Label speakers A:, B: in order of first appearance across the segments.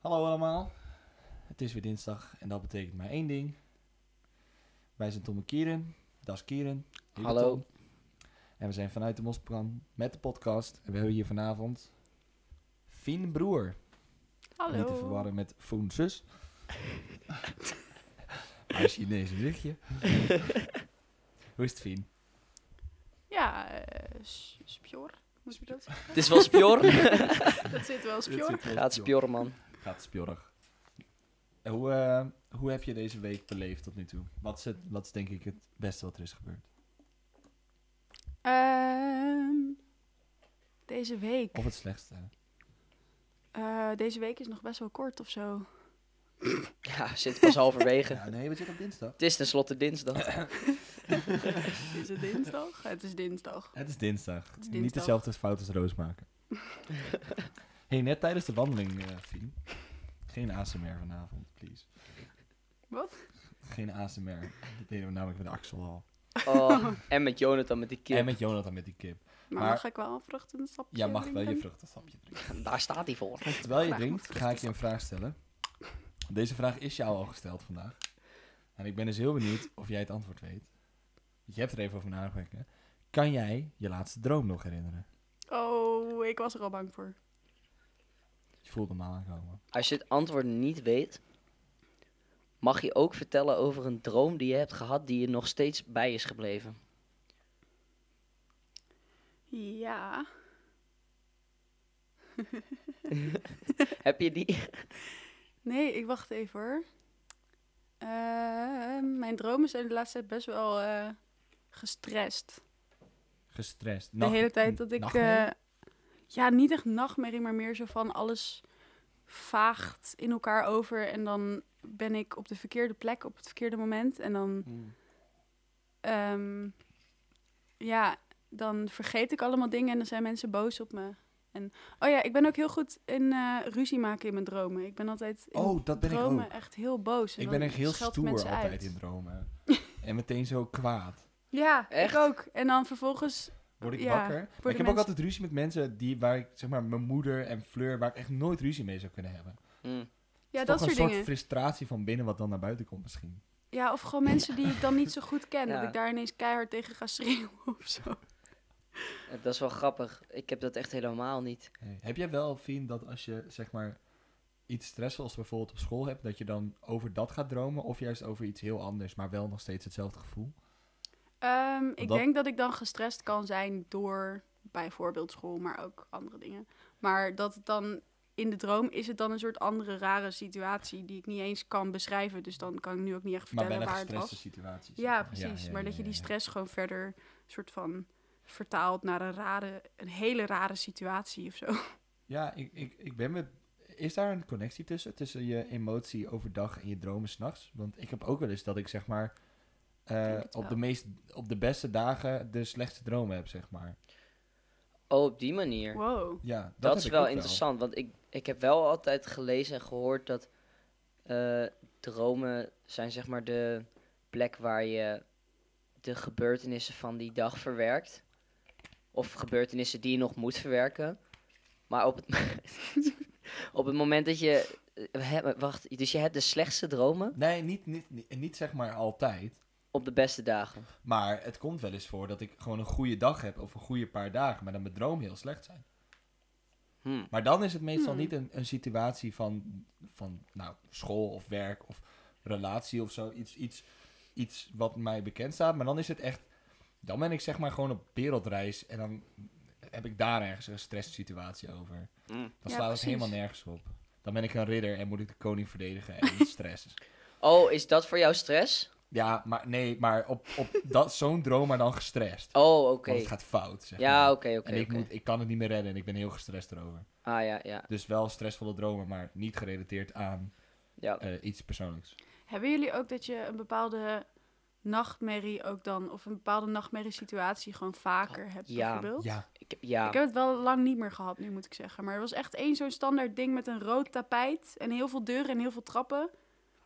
A: Hallo allemaal. Het is weer dinsdag en dat betekent maar één ding. Wij zijn Tom en Kieren. Dat is Kieren. Hier
B: Hallo.
A: Tom. En we zijn vanuit de Mosplan met de podcast. En we hebben hier vanavond Fien Broer.
C: Hallo.
A: Niet te verwarren met Foen Zus. Hij is Chinees een luchtje. Hoe is het Fien?
C: Ja, eh, s- spjor. Moet je dat zeggen?
B: Het is wel spjor.
C: dat zit wel spjor.
B: Gaat spjor, man.
A: Gaat spjorrig. En Hoe, eh, hoe heb je deze week beleefd tot nu toe? Wat is, het, wat is denk ik het beste wat er is gebeurd?
C: Ehm, deze week.
A: Of het slechtste?
C: Eh, deze week is nog best wel kort of zo.
B: Ja, we zitten pas halverwege.
A: Ja, nee, we zitten op dinsdag.
B: Het is tenslotte dinsdag.
C: Is het dinsdag? het is dinsdag.
A: Het is dinsdag.
C: is
A: Niet
C: dinsdag.
A: dezelfde fout als Roos maken. hey, net tijdens de wandeling, eh Fien. Geen ASMR vanavond, please.
C: Wat?
A: Geen ASMR. Dat deden we namelijk met Axel al.
B: Oh, en met Jonathan met die
A: En
B: kip.
A: met Jonathan met die kip.
C: Maar,
A: Maar-
C: mag ik wel een vruchtensapje
A: Jij mag wel je
C: drinken?
A: vruchtensapje drinken.
B: Daar staat hij voor.
A: Terwijl je
C: Graag
A: drinkt,
C: met
A: ga ik je een vraag stellen. Deze vraag is jou al gesteld vandaag. En ik ben dus heel benieuwd of jij het antwoord weet. Je hebt er even over nagedacht. hè? Kan jij je laatste droom nog herinneren?
C: Oh, ik was er al bang voor.
A: Je voelt hem al aankomen.
B: Als je het antwoord niet weet, mag je ook vertellen over een droom die je hebt gehad die je nog steeds bij is gebleven.
C: Ja.
B: Heb je die?
C: Nee, ik wacht even hoor. Ehm, mijn dromen zijn de laatste tijd best wel eh, gestrest.
A: gestrest.
C: De
A: Nacht-
C: hele tijd dat ik...
A: nachtmerrie?
C: eh, ja, niet echt nachtmerrie, maar meer zo van alles vaagt in elkaar over. En dan ben ik op de verkeerde plek op het verkeerde moment. En dan,
A: Hmm.
C: ehm, ja, dan vergeet ik allemaal dingen en dan zijn mensen boos op me. En, oh ja, ik ben ook heel goed in eh, ruzie maken in mijn dromen. Ik ben altijd in
A: oh, dat ben ik
C: dromen
A: ook.
C: echt heel boos. en
A: Ik ben
C: dan
A: echt heel
C: scheld ik
A: stoer
C: mensen
A: altijd
C: uit.
A: in dromen. en meteen zo kwaad.
C: Ja,
B: Echt?
C: ik ook. En dan vervolgens...
A: Word ik
C: Ja,
A: wakker? Maar ik heb
C: worden
A: ook
C: mensen-
A: altijd ruzie met mensen die, waar ik, zeg maar, mijn moeder en Fleur, waar ik echt nooit ruzie mee zou kunnen hebben.
B: Mm.
C: Ja,
A: Het is
C: dat
A: toch
C: soort
A: een soort
C: dingen.
A: frustratie van binnen wat dan naar buiten komt misschien.
C: Ja, of gewoon mensen die ik dan niet zo goed ken.
B: Ja.
C: Dat ik daar ineens keihard tegen ga schreeuwen of zo.
B: Dat is wel grappig. Ik heb dat echt helemaal niet.
A: Hey, Heb jij wel, Fien, dat als je zeg maar iets stressvols bijvoorbeeld op school hebt, dat je dan over dat gaat dromen of juist over iets heel anders, maar wel nog steeds hetzelfde gevoel?
C: Ehm, ik
A: dat-
C: denk dat ik dan gestrest kan zijn door bijvoorbeeld school, maar ook andere dingen. Maar dat het dan in de droom is het dan een soort andere rare situatie die ik niet eens kan beschrijven. Dus dan kan ik nu ook niet echt
A: Maar
C: vertellen
A: wel een
C: waar het
A: gestreste
C: was.
A: situatie.
C: Ja, precies.
A: ja,
C: maar
A: ja,
C: dat je die
A: ja, ja.
C: stress gewoon verder soort van vertaalt naar een rare, een hele rare situatie of zo.
A: Ja, ik, ik, ik ben met. Is daar een connectie tussen? Tussen je emotie overdag en je dromen s'nachts? Want ik heb ook wel eens dat ik zeg maar. eh,
C: denk het
A: op,
C: wel.
A: de meest, op de beste dagen de slechtste dromen heb, zeg maar.
B: Oh, op die manier.
C: Wow.
A: Ja, dat,
B: Dat,
A: heb
B: is
A: ik
B: wel
A: ook
B: interessant, want ik, ik heb wel altijd gelezen en gehoord dat eh, dromen zijn zeg maar de plek waar je de gebeurtenissen van die dag verwerkt. Of gebeurtenissen die je nog moet verwerken. Maar op het, op het moment dat je... eh, hè, Wacht, dus je hebt de slechtste dromen
A: Nee, niet, niet, niet, niet zeg maar altijd.
B: op de beste dagen.
A: Maar het komt wel eens voor dat ik gewoon een goede dag heb of een goede paar dagen, maar dan mijn droom heel slecht zijn.
B: Hm.
A: Maar dan is het meestal
C: Hmm.
A: niet een, een situatie van, van nou, school of werk of relatie of zo. Iets, iets, iets wat mij bekend staat. Maar dan is het echt. Dan ben ik zeg maar gewoon op wereldreis en dan heb ik daar ergens een stresssituatie over.
B: hm.
A: Dan
C: Ja,
A: slaat het
C: precies.
A: helemaal nergens op. Dan ben ik een ridder en moet ik de koning verdedigen en het stress.
B: Oh, is dat voor jou stress?
A: Ja, maar nee, maar op, op dat, zo'n droom maar dan gestrest.
B: Oh, oké.
A: Want het gaat fout, zeg maar.
B: Ja, oké, oké.
A: en ik,
B: oké.
A: moet, ik kan het niet meer redden en ik ben heel gestrest erover.
B: Ah, ja, ja.
A: Dus wel stressvolle dromen, maar niet gerelateerd aan
B: ja.
A: eh, iets persoonlijks.
C: Hebben jullie ook dat je een bepaalde nachtmerrie ook dan, of een bepaalde nachtmerriesituatie gewoon vaker hebt
B: Ja.
C: bijvoorbeeld?
A: Ja,
B: Ik, ja.
C: Ik heb het wel lang niet meer gehad, nu moet ik zeggen. Maar er was echt één zo'n standaard ding met een rood tapijt en heel veel deuren en heel veel trappen.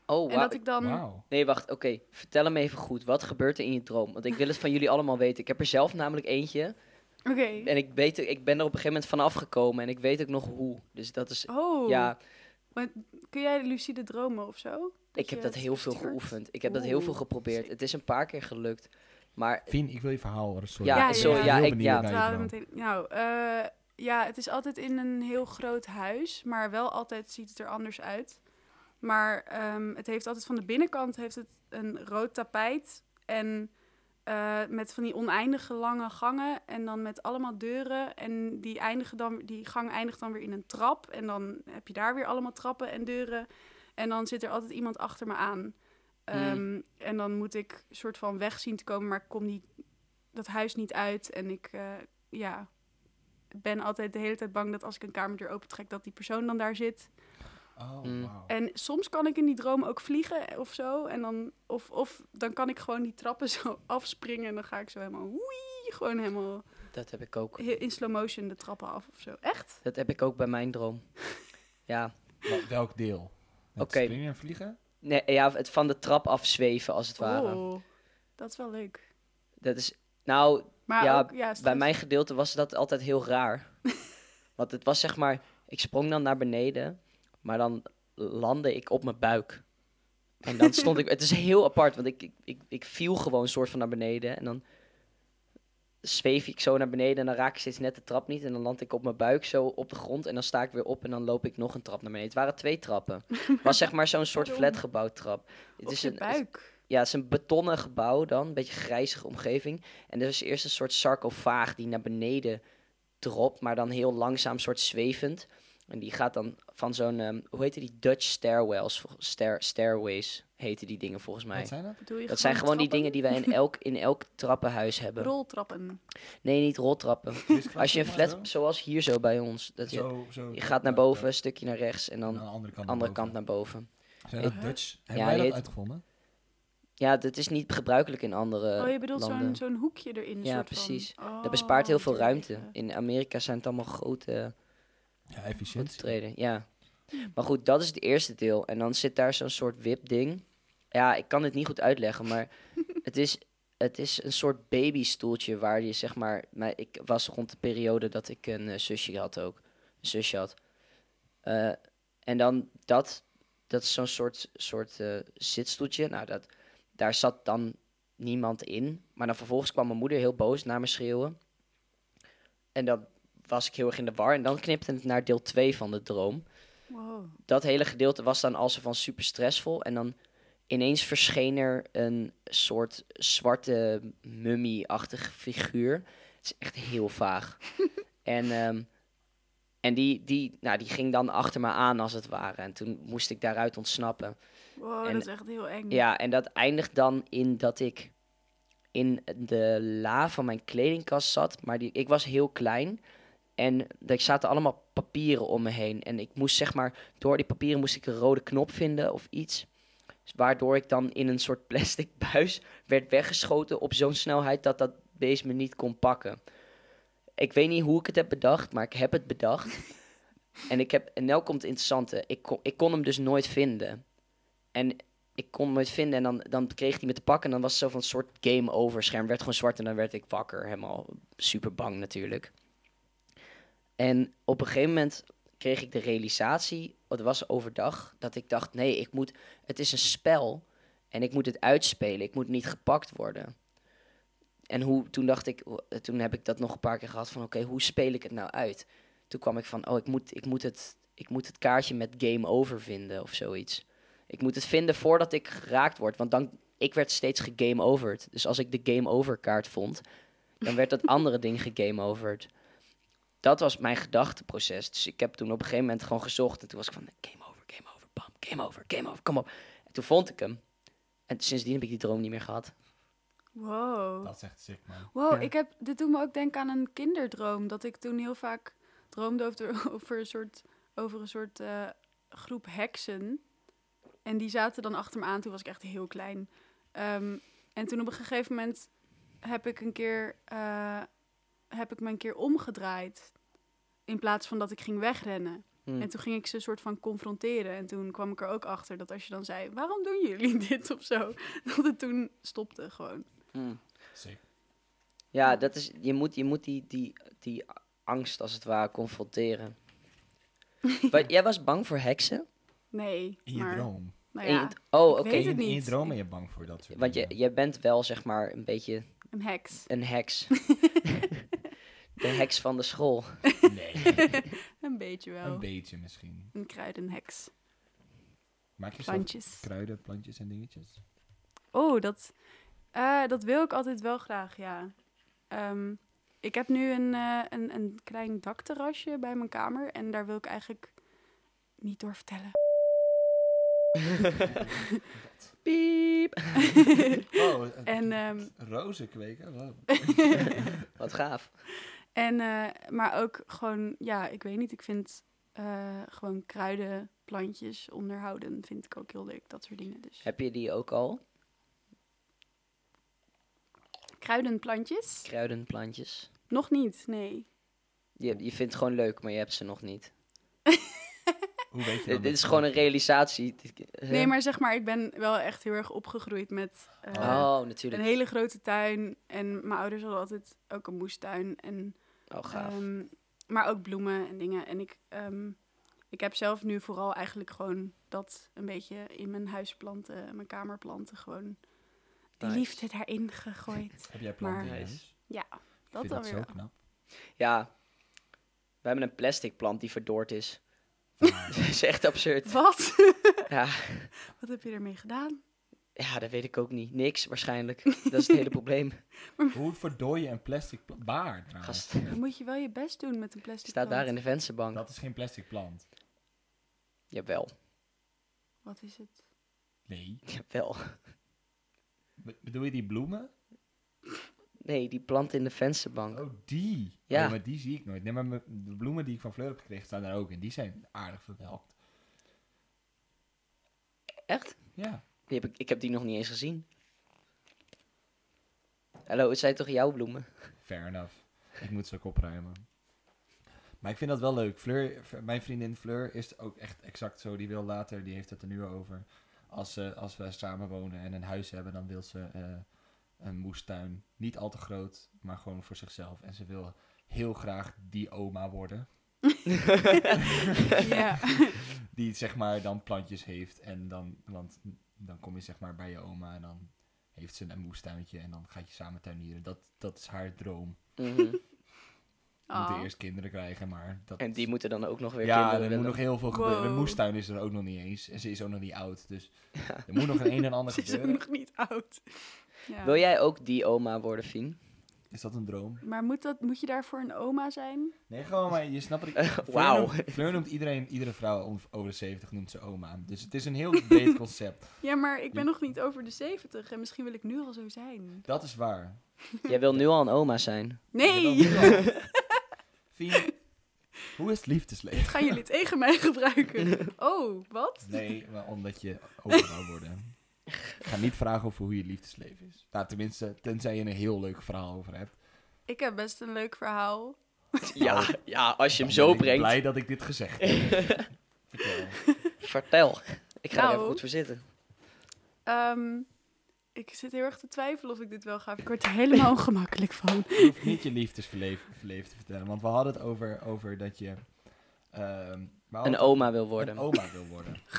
B: Oh,
C: en
B: wauw.
C: dat ik dan...
A: wauw.
B: Nee, wacht. Oké, vertel hem even goed. Wat gebeurt er in je droom? Want ik wil het van jullie allemaal weten. Ik heb er zelf namelijk eentje.
C: Oké.
B: En ik, weet, ik ben er op een gegeven moment van afgekomen. En ik weet ook nog hoe. Dus dat is...
C: Oh.
B: Ja,
C: Want kun jij lucide dromen of zo?
B: Ik heb
C: je
B: dat
C: het
B: heel veel
C: stuurt?
B: geoefend. Ik heb dat heel veel
C: Oeh,
B: geprobeerd.
C: sick.
B: Het is een paar keer gelukt. Maar
A: Fien, ik wil je verhaal horen. Sorry.
B: Ja,
A: Ik ben
C: sorry,
A: heel
C: ja,
B: ik-
A: benieuwd
B: ja.
A: naar je
C: We
A: verhaal.
C: hadden meteen, nou, eh, ja, het is altijd in een heel groot huis, maar wel altijd ziet het er anders uit. Maar ehm, het heeft altijd van de binnenkant heeft het een rood tapijt en eh, met van die oneindige lange gangen en dan met allemaal deuren en die, eindigen dan, die gang eindigt dan weer in een trap en dan heb je daar weer allemaal trappen en deuren en dan zit er altijd iemand achter me aan. Ehm, En dan moet ik soort van weg zien te komen, maar ik kom niet dat huis niet uit. En ik eh, ja, ben altijd de hele tijd bang dat als ik een kamerdeur opentrek, dat die persoon dan daar zit.
A: Oh,
B: Mm.
A: wauw.
C: En soms kan ik in die droom ook vliegen of zo. En dan, of, of dan kan ik gewoon die trappen zo afspringen. En dan ga ik zo helemaal woei, gewoon helemaal
B: dat heb ik ook.
C: he- in slow motion de trappen af of zo. Echt?
B: Dat heb ik ook bij mijn droom. Ja,
A: Wel- Welk deel? Het
B: Oké.
A: springen en vliegen?
B: nee, ja het van de trap afzweven als het ware.
C: Oh, dat is wel leuk.
B: Dat is, nou,
C: Maar
B: Ja,
C: ook, ja,
B: bij
C: straks-
B: mijn gedeelte was dat altijd heel raar. Want het was zeg maar, ik sprong dan naar beneden, maar dan landde ik op mijn buik. En dan stond ik, het is heel apart, want ik, ik, ik, ik viel gewoon soort van naar beneden. En dan zweef ik zo naar beneden en dan raak ik steeds net de trap niet. En dan land ik op mijn buik zo op de grond en dan sta ik weer op en dan loop ik nog een trap naar beneden. Het waren twee trappen. Het was zeg maar zo'n soort
C: Waarom?
B: flatgebouwtrap. Het
C: op
B: is
C: je
B: een,
C: buik.
B: ja, het is een betonnen gebouw dan, een beetje grijzige omgeving. En er is eerst een soort sarcofaag die naar beneden dropt, maar dan heel langzaam, soort zwevend. En die gaat dan van zo'n, ehm, hoe heette die, Dutch stairwells, vol- stair, stairways heten die dingen volgens mij.
A: Wat zijn dat?
C: Bedoel je
B: Dat zijn gewoon die dingen die wij in elk, in elk trappenhuis
C: trappen?
B: hebben.
C: Roltrappen.
B: Nee, niet roltrappen. Als je een flat, zoals hier zo bij ons, dat je,
A: nou? Zo, zo,
B: je gaat naar
A: ja,
B: boven,
A: ja.
B: een stukje naar rechts en
A: En
B: dan
A: aan de andere kant.
B: andere
A: naar
B: kant
A: boven.
B: naar boven.
A: Zijn
B: Ik-
A: dat Dutch? Hebben
B: Ja,
A: wij
B: die
A: dat
B: heet-
A: uitgevonden?
B: Ja, dat is niet gebruikelijk in andere
C: Oh, je bedoelt
B: Eh, landen.
C: zo'n zo'n hoekje erin.
B: Ja,
C: soort van.
B: precies.
C: Oh,
B: Dat bespaart heel veel
C: tuurlijk,
B: ruimte.
C: ja.
B: In Amerika zijn het allemaal grote,
A: Ja,
B: grote
A: efficiënt.
B: treden. Ja. Maar goed, dat is het eerste deel. En dan zit daar zo'n soort wipding. Ja, ik kan het niet goed uitleggen, maar het is, het is een soort babystoeltje waar je zeg maar... maar ik was rond de periode dat ik een eh, zusje had ook. Een zusje had. Eh, en dan dat, dat is zo'n soort, soort eh, zitstoeltje. Nou, dat, daar zat dan niemand in. Maar dan vervolgens kwam mijn moeder heel boos naar me schreeuwen. En dan was ik heel erg in de war. En dan knipte het naar deel 2 van de droom.
C: Wow.
B: Dat hele gedeelte was dan als van super stressvol. En dan ineens verscheen er een soort zwarte mummie-achtige figuur. Het is echt heel vaag. en ehm, en die, die, nou, die ging dan achter me aan als het ware. En toen moest ik daaruit ontsnappen.
C: Wow,
B: En-
C: dat is echt heel eng.
B: Ja, en dat eindigt dan in dat ik in de la van mijn kledingkast zat. Maar die, ik was heel klein. En er zaten allemaal papieren om me heen. En ik moest zeg maar, door die papieren moest ik een rode knop vinden of iets. Dus Waardoor ik dan in een soort plastic buis werd weggeschoten op zo'n snelheid dat dat beest me niet kon pakken. Ik weet niet hoe ik het heb bedacht, maar ik heb het bedacht. en ik heb, en nou komt het interessante. Ik kon, ik kon hem dus nooit vinden. En ik kon hem nooit vinden. En dan, dan kreeg hij me te pakken. En dan was het zo van een soort game over. Scherm werd gewoon zwart. En dan werd ik wakker. Helemaal super bang natuurlijk. En op een gegeven moment kreeg ik de realisatie. Het was overdag. Dat ik dacht: nee, ik moet. Het is een spel. En ik moet het uitspelen. Ik moet niet gepakt worden. En hoe, toen dacht ik, eh, toen heb ik dat nog een paar keer gehad van oké, hoe speel ik het nou uit? Toen kwam ik van, oh, ik moet, ik moet, het, ik moet het kaartje met game over vinden of zoiets. Ik moet het vinden voordat ik geraakt word. Want dan, ik werd steeds gegame overd. Dus als ik de game over kaart vond, dan werd dat andere ding gegame overd. Dat was mijn gedachteproces. Dus ik heb toen op een gegeven moment gewoon gezocht. En toen was ik van, game over, game over, bam, game over, game over, kom op. En toen vond ik hem. En sindsdien heb ik die droom niet meer gehad.
C: Wow.
A: Dat is echt sick, man.
C: Wow,
B: Ja.
C: ik heb, dit doet me ook denken aan een kinderdroom. Dat ik toen heel vaak droomde over, over een soort, over een soort eh, groep heksen. En die zaten dan achter me aan. Toen was ik echt heel klein. Ehm, en toen op een gegeven moment heb ik een keer, eh, heb ik me een keer omgedraaid. In plaats van dat ik ging wegrennen.
B: Hmm.
C: En toen ging ik ze een soort van confronteren. En toen kwam ik er ook achter dat als je dan zei: waarom doen jullie dit of zo? Dat het toen stopte gewoon.
B: Hmm.
A: Sick.
B: Ja, dat is, je moet, je moet die, die, die angst als het ware confronteren. Wa- jij was bang voor heksen?
C: Nee.
A: In je
C: maar,
A: droom.
C: Nou
B: In je
C: ja,
B: d- oh, oké.
C: Ik weet
A: in,
C: het
A: in je
C: niet.
A: droom ben je bang voor dat soort
B: Want je,
A: dingen.
B: je bent wel, zeg maar, een beetje
C: een heks.
B: een heks. de heks van de school.
A: Nee,
C: Een beetje wel.
A: een
C: Een,
A: beetje misschien.
C: kruidenheks.
A: Maak je zelf
C: Plantjes.
A: kruiden, plantjes en dingetjes?
C: Oh, dat, eh, dat wil ik altijd wel graag, ja. Ehm, ik heb nu een, eh, een, een klein dakterrasje bij mijn kamer. En daar wil ik eigenlijk niet door vertellen.
B: Piep.
A: Oh, eh,
C: En, ehm,
A: rozen kweken? Wow.
B: Wat gaaf.
C: en, eh, maar ook gewoon, ja, ik weet niet. Ik vind eh, gewoon kruiden, plantjes onderhouden vind ik ook heel leuk. Dat soort dingen. Dus
B: Heb je die ook al?
C: kruidenplantjes?
B: Kruidenplantjes.
C: Nog niet, nee.
B: Je, je vindt het gewoon leuk, maar je hebt ze nog niet.
A: Hoe weet je
B: Eh, Dit,
A: dat?
B: dit is gewoon een realisatie. Dit- eh,
C: Nee, maar zeg maar, ik ben wel echt heel erg opgegroeid met... eh,
B: Oh,
C: Een
B: natuurlijk.
C: hele grote tuin. En mijn ouders hadden altijd ook een moestuin. En,
B: Oh, gaaf.
C: ehm, maar ook bloemen en dingen. En ik, ehm, ik heb zelf nu vooral eigenlijk gewoon dat een beetje in mijn huis planten, mijn kamer planten. Gewoon de
B: Nice.
C: liefde daarin gegooid.
A: Heb jij planten in
C: maar-
A: je
B: Nice.
A: huis?
C: Ja,
A: Ik
C: dat
A: vind
C: dan
A: dat
C: weer.
A: zo
C: wel.
A: knap.
B: Ja. We hebben een plastic plant die verdoord is.
A: Van-
B: dat is echt absurd.
C: Wat?
B: Ja.
C: Wat heb je ermee gedaan?
B: ja, dat weet ik ook niet. Niks waarschijnlijk. Dat is het hele probleem.
A: Hoe verdooi je een plastic plant? Waar trouwens?
B: Gast,
C: Dan moet je wel je best doen met een plastic
B: staat daar in
C: plant.
B: de vensterbank.
A: Dat is geen plastic plant.
B: Jawel,
C: Wat is het?
A: Nee.
B: jawel.
A: Be- bedoel je die bloemen?
B: Nee, die plant in de vensterbank.
A: Oh, die.
B: Ja.
A: Oh, maar die zie ik nooit. Nee, maar me- de bloemen die ik van Fleur heb gekregen staan daar ook in. Die zijn aardig verwelkt.
B: Echt?
A: Ja.
B: Die heb ik, ik heb die nog niet eens gezien. Hallo, het zijn toch jouw bloemen?
A: Fair enough. Ik moet ze ook opruimen. Maar ik vind dat wel leuk. Fleur, v- mijn vriendin Fleur is ook echt exact zo. Die wil later, die heeft het er nu over. Als, ze, als we samen wonen en een huis hebben, dan wil ze eh, een moestuin. Niet al te groot, maar gewoon voor zichzelf. En ze wil heel graag die oma worden.
C: ja.
A: Die zeg maar dan plantjes heeft. En dan, want dan kom je zeg maar bij je oma en dan heeft ze een moestuintje. En dan gaat je samen tuinieren. Dat, dat is haar droom.
B: Mhm.
A: We moeten
C: Oh.
A: eerst kinderen krijgen, maar dat
B: En die moeten dan ook nog weer
A: Ja, er
B: kinderen
A: moet
B: willen.
A: nog heel veel gebeuren. De
C: Wow.
A: moestuin is er ook nog niet eens. En ze is ook nog niet oud. Dus er moet nog een een en ander
C: Ze is ook
A: gebeuren.
C: nog niet oud. Ja.
B: Wil jij ook die oma worden, Fien?
A: Is dat een droom?
C: Maar moet, dat, moet je daarvoor een oma zijn?
A: Nee, gewoon maar je snapt het. Fleur
B: wauw.
A: noemt- Fleur noemt iedereen, iedere vrouw om- over de 70 noemt ze oma. Dus het is een heel breed concept.
C: Ja, maar ik ben nog niet over de 70 en misschien wil ik nu al zo zijn.
A: Dat is waar.
B: Jij wil nu al een oma zijn.
C: Nee,
A: Ja, dat wel. Fien, hoe is het liefdesleven?
C: gaan jullie tegen mij gebruiken? Oh, wat?
A: Nee, maar omdat je oma wou worden. Ik ga niet vragen over hoe je liefdesleven is. Nou, tenminste, tenzij je een heel leuk verhaal over hebt.
C: Ik heb best een leuk verhaal.
A: Nou,
B: Ja, ja als je hem
A: Dan
B: zo
A: ben ik
B: brengt.
A: blij dat ik dit gezegd heb. Vertel.
B: Vertel. Ik ga er even
C: Nou.
B: goed voor zitten.
C: Ehm, ik zit heel erg te twijfelen of ik dit wel ga. Ik word er helemaal ongemakkelijk van.
A: Je hoeft niet je liefdesverleven te vertellen. Want we hadden het over, over dat je... ehm, we hadden
B: Een
A: het
B: oma wil
A: over-
B: worden.
A: Een oma wil worden. ja.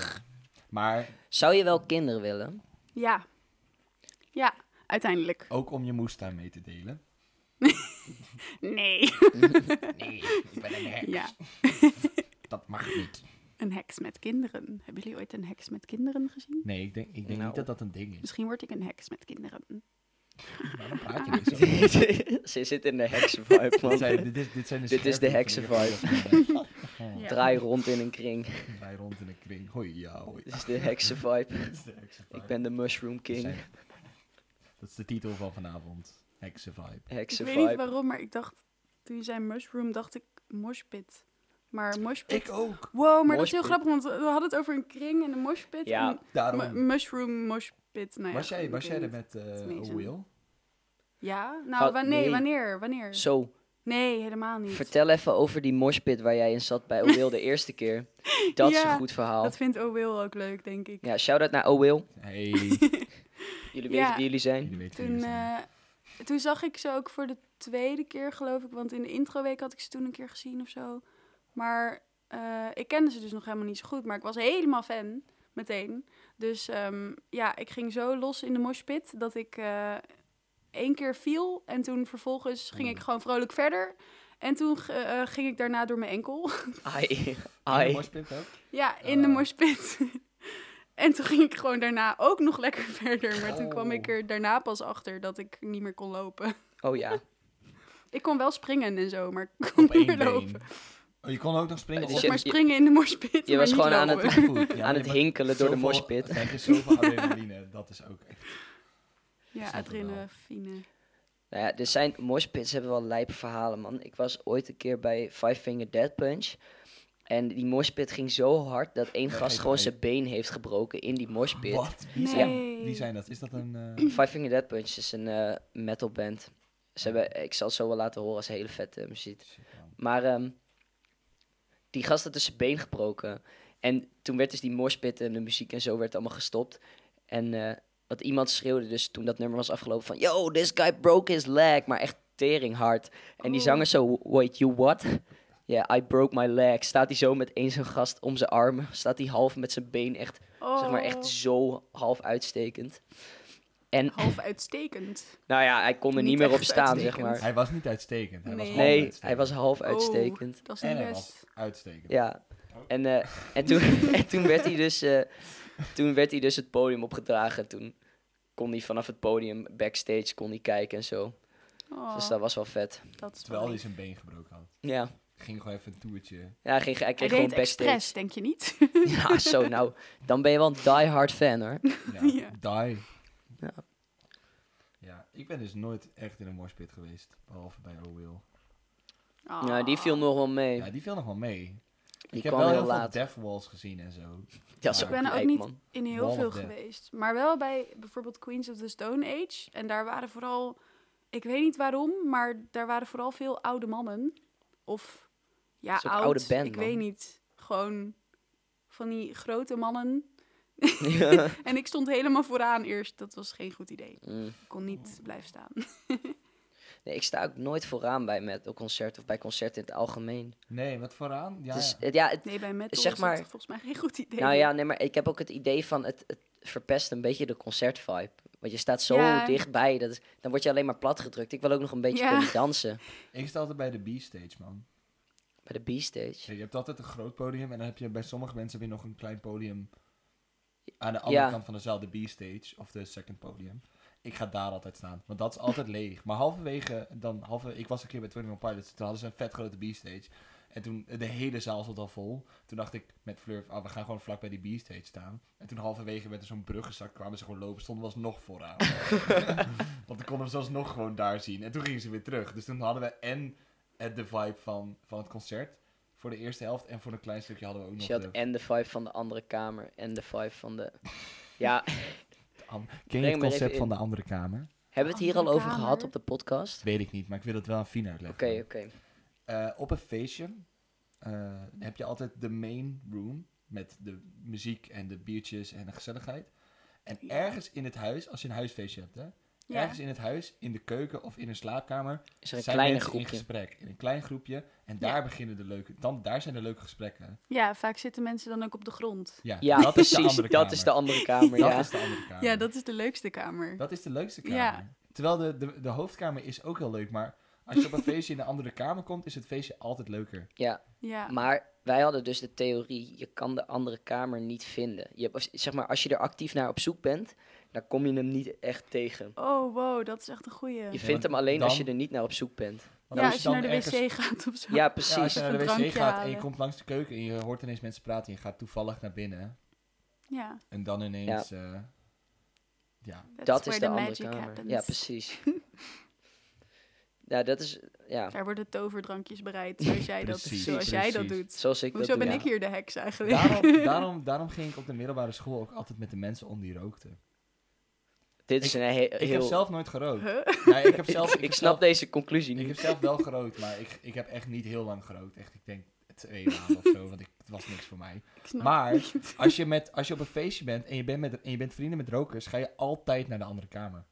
A: Maar
B: Zou je wel kinderen willen?
C: Ja. Ja, uiteindelijk.
A: ook om je moestuin mee te delen.
C: Nee.
A: Nee, ik ben een heks.
C: Ja,
A: Dat mag niet.
C: een heks met kinderen. Hebben jullie ooit een heks met kinderen gezien?
A: Nee, ik denk, ik denk
B: Nou.
A: niet dat dat een ding is.
C: Misschien word ik een heks met kinderen.
A: Waarom praat je niet zo?
B: Ze zit in de heksenvibe,
A: Dit zijn,
B: man.
A: dit is, dit zijn de
B: Dit is de heksenvibe. Draai rond in een kring.
A: Oh, Wij rond in een kring. Hoi, ja, hoi.
B: Dit is de heksenvibe.
A: Dit is de heksenvibe.
B: Ik ben de Mushroom
A: Dat
B: King.
A: zijn- Dat is de titel van vanavond. Heksenvibe.
C: Ik weet niet
B: Heksenvibe.
C: waarom, maar ik dacht... Toen je zei mushroom, dacht ik moshpit. Maar moshpit...
A: Ik ook.
C: Wow, maar dat is heel
B: Moshpit.
C: grappig, want we hadden het over een kring en een moshpit.
B: Ja,
C: en
A: Daarom.
C: mu- mushroom, moshpit. Nou ja,
A: Oh. was jij,
C: ik
A: was
C: weet
A: jij er
C: niet.
A: met eh
C: niet zo.
A: Will?
C: Ja? Nou,
B: Oh,
C: wanneer,
B: nee.
C: wanneer, wanneer?
B: Zo,
C: Nee, helemaal niet.
B: vertel even over die moshpit waar jij in zat bij O'Will de eerste keer. Dat is
C: Ja,
B: een goed verhaal.
C: Dat vindt O'Will ook leuk, denk ik.
B: Ja, shout-out naar O'Will.
A: Hey,
B: Jullie
C: Ja.
B: weten wie jullie zijn.
A: jullie weten wie
C: Toen,
A: jullie zijn.
C: eh, toen zag ik ze ook voor de tweede keer, geloof ik. Want in de introweek had ik ze toen een keer gezien of zo. Maar eh, ik kende ze dus nog helemaal niet zo goed, maar ik was helemaal fan meteen. Dus ehm, ja, ik ging zo los in de moshpit dat ik eh, één keer viel en toen vervolgens ging ik
A: Mm.
C: gewoon vrolijk verder. En toen ge- eh, ging ik daarna door mijn enkel.
B: Ai.
A: Ai.
B: Ai.
A: ook?
C: ja, in de
A: Ah.
C: moshpit. en toen ging ik gewoon daarna ook nog lekker verder. Maar toen kwam ik
A: Oh.
C: er daarna pas achter dat ik niet meer kon lopen.
B: Oh ja.
C: Ik kon wel springen en zo, maar ik kon
A: Op
C: niet
A: één
C: meer
A: been.
C: lopen.
A: Oh, je kon ook nog springen
B: Dus
A: op
C: Of
B: je-
C: maar springen in de morspit.
B: je was gewoon aan het-
A: één voet. Ja,
B: Aan
A: nee,
B: het
A: maar
B: hinkelen door de
A: zoveel-
B: moshpit.
A: Er is zoveel adrenaline, dat is ook echt...
C: Ja,
A: snap het
C: adrenaline.
B: Nou ja, er zijn moshpits hebben wel lijpe verhalen, man. Ik was ooit een keer bij Five Finger Death Punch. En die moshpit ging zo hard dat één
A: Ja,
B: gast
A: ik
B: gewoon
A: weet.
B: zijn been heeft gebroken in die moshpit.
A: Wat? Wie,
C: Nee.
A: zijn, wie zijn dat? Is dat een... eh,
B: Five Finger Death Punch is een eh metal band. Ze hebben, ik zal het zo wel laten horen als hele vette muziek.
A: shit, man.
B: Maar ehm, die gast had dus zijn been gebroken. En toen werd dus die morspit en de muziek en zo werd allemaal gestopt. En eh wat iemand schreeuwde dus toen dat nummer was afgelopen van... Yo, this guy broke his leg. Maar echt tering hard. En die
C: Oh.
B: zanger zo, wait, you what? Ja, I broke my leg. Staat hij zo met één zijn gast om zijn arm. Staat hij half met zijn been echt,
C: Oh,
B: zeg maar, echt zo half uitstekend. En
C: half uitstekend.
B: nou ja, hij kon er niet,
C: Niet
B: meer op
C: echt
B: staan, zeg
C: uitstekend.
B: maar.
A: Hij was niet uitstekend. Hij was
C: Nee.
A: half
B: Nee,
A: uitstekend.
B: hij was half
C: Oh.
B: uitstekend.
C: Dat is
A: En
C: niet
A: hij was
C: best.
A: uitstekend.
B: Ja.
C: Oh.
B: En, eh, en, toen, en toen, werd hij dus, eh, toen werd hij dus het podium opgedragen. Toen kon hij vanaf het podium backstage kon hij kijken en zo.
C: Oh,
B: Dus dat was wel vet.
C: dat is
A: Terwijl
C: wel
A: hij
C: lief.
A: zijn been gebroken had.
B: Ja,
A: Ging gewoon even een toertje.
B: ja hij, ging, hij
C: Hij
B: kreeg gewoon
C: deed
B: backstage.
C: expres, denk je niet?
B: Ja, zo nou. Dan ben je wel een diehard fan hoor.
A: Ja,
C: Ja.
A: die.
B: Ja.
A: Ja, ik ben dus nooit echt in een morspit geweest. Behalve bij O'Will.
C: Oh.
B: Ja, Nou,
C: Ah.
B: die viel nog wel mee.
A: Ja, die viel nog wel mee.
B: Die
A: ik heb
B: kwam
A: wel
B: heel
A: heel
B: laat.
A: veel Death Walls gezien en zo.
B: Dat is
A: Ik
B: ook
C: ben ook
B: lijp,
C: niet-
B: man.
C: in heel
A: Wall of
C: veel
A: Death.
C: geweest. Maar wel bij bijvoorbeeld Queens of the Stone Age. En daar waren vooral, ik weet niet waarom, maar daar waren vooral veel oude mannen. Of, ja,
B: Dat is ook
C: oud,
B: oude band,
C: ik
B: man.
C: weet niet. Gewoon van die grote mannen.
B: Ja.
C: En ik stond helemaal vooraan eerst. Dat was geen goed idee.
B: Mm.
C: Ik kon niet blijven staan.
B: Nee, ik sta ook nooit vooraan bij metal concert of bij concerten in het algemeen.
A: Nee, wat vooraan? Ja,
B: het is,
A: ja.
B: het- ja, het,
C: Nee, bij metal
B: Zeg
C: is
B: maar-
C: dat toch volgens mij geen goed idee.
B: Nou ja, nee, maar ik heb ook het idee van het, het verpest een beetje de concertvibe. Want je staat zo
C: Ja.
B: dichtbij, dat is, dan word je alleen maar platgedrukt. Ik wil ook nog een beetje
C: Ja.
B: kunnen dansen
A: Ik sta altijd bij de B-stage, man.
B: bij de B-stage.
A: Je hebt altijd een groot podium en dan heb je bij sommige mensen weer nog een klein podium aan de andere
B: Ja.
A: kant van de zaal, de B-stage of de second podium. Ik ga daar altijd staan, want dat is altijd leeg. Maar halverwege, dan halverwege, ik was een keer bij 21 Pilots, toen hadden ze een vet grote B-stage. En toen, de hele zaal stond al vol. Toen dacht ik met Fleur, ah, we gaan gewoon vlak bij die B-stage staan. En toen halverwege werd er zo'n brug gezakt, kwamen ze gewoon lopen, stonden we alsnog vooraan. Want dan konden we ze alsnog gewoon daar zien. En toen gingen ze weer terug. Dus toen hadden we en het- de vibe van, van het concert voor de eerste helft. En voor een klein stukje hadden we ook
B: Dus
A: nog
B: je had
A: de-
B: en de vibe van de andere kamer en de vibe van de... Ja,
A: Am- Ken
B: Breng
A: je
B: me er
A: het concept
B: even
A: van
B: in.
A: de andere kamer?
B: hebben we het hier al
C: Andere
B: over
C: kamer?
B: gehad op de podcast?
A: Weet ik niet, maar ik wil het wel aan Fien
B: Oké,
A: uitleggen.
B: oké.
A: Eh, op een feestje eh, heb je altijd de main room met de muziek en de biertjes en de gezelligheid. En
C: Ja.
A: ergens in het huis, als je een huisfeestje hebt, hè,
C: Ja.
A: ergens in het huis, in de keuken of in een slaapkamer,
B: Is er een
A: zijn
B: kleine
A: mensen in
B: groepje?
A: gesprek. In een klein groepje. En daar beginnen de leuke, dan, daar zijn de leuke gesprekken.
C: Ja, vaak zitten mensen dan ook op de grond.
A: Ja,
B: Ja,
A: dat is
B: precies.
A: de andere kamer.
B: dat is de andere kamer,
A: Dat
B: ja.
A: is de andere kamer.
C: Ja, dat is de leukste kamer.
A: Dat is de leukste kamer.
C: Ja.
A: Terwijl de, de, de hoofdkamer is ook heel leuk, maar als je op een feestje in een andere kamer komt, is het feestje altijd leuker.
B: Ja,
C: Ja.
B: maar wij hadden dus de theorie, je kan de andere kamer niet vinden. Je, hebt- zeg maar, als je er actief naar op zoek bent, dan kom je hem niet echt tegen.
C: Oh, wow, dat is echt een goeie.
B: Je
A: Ja,
B: vindt
A: want
B: hem alleen als je
A: dan-
B: er niet naar op zoek bent.
A: Want
C: ja, als je
A: dan
C: naar de
A: ergens-
C: wc gaat of zo.
B: Ja,
A: Ja, als
B: precies.
A: je
C: Even
A: naar de
C: een
A: wc
C: drankje
A: gaat en je
C: halen.
A: komt langs de keuken en je hoort ineens mensen praten en je gaat toevallig naar binnen.
C: Ja,
A: En dan ineens... Ja. ja.
C: that's
B: dat
C: where
B: is
C: the
B: de andere
C: magic
B: kamer.
C: happens.
B: Ja, precies. ja, dat is... Ja,
C: Daar worden toverdrankjes bereid, zoals jij, dat,
A: Precies,
C: zoals jij dat
A: precies.
C: doet.
B: zoals ik
C: Hoezo
B: dat
C: ben
B: doe.
C: ik hier de heks eigenlijk?
A: Daarom, daarom, daarom ging ik op de middelbare school ook altijd met de mensen om die rookten.
B: Dit is
A: Ik-
B: een he- heel...
A: Ik heb zelf nooit gerookt.
C: Huh?
A: Nee, ik heb zelf,
B: ik,
A: heb
B: snap
A: zelf-
B: deze conclusie
A: Ik
B: niet.
A: heb zelf wel gerookt, maar ik, ik heb echt niet heel lang gerookt. Echt, ik denk twee maanden of zo, want ik, het was niks voor mij.
C: Ik snap
A: Maar-
C: het niet.
A: Als je, met, als je op een feestje bent en je bent, met, en je bent vrienden met rokers, ga je altijd naar de andere kamer.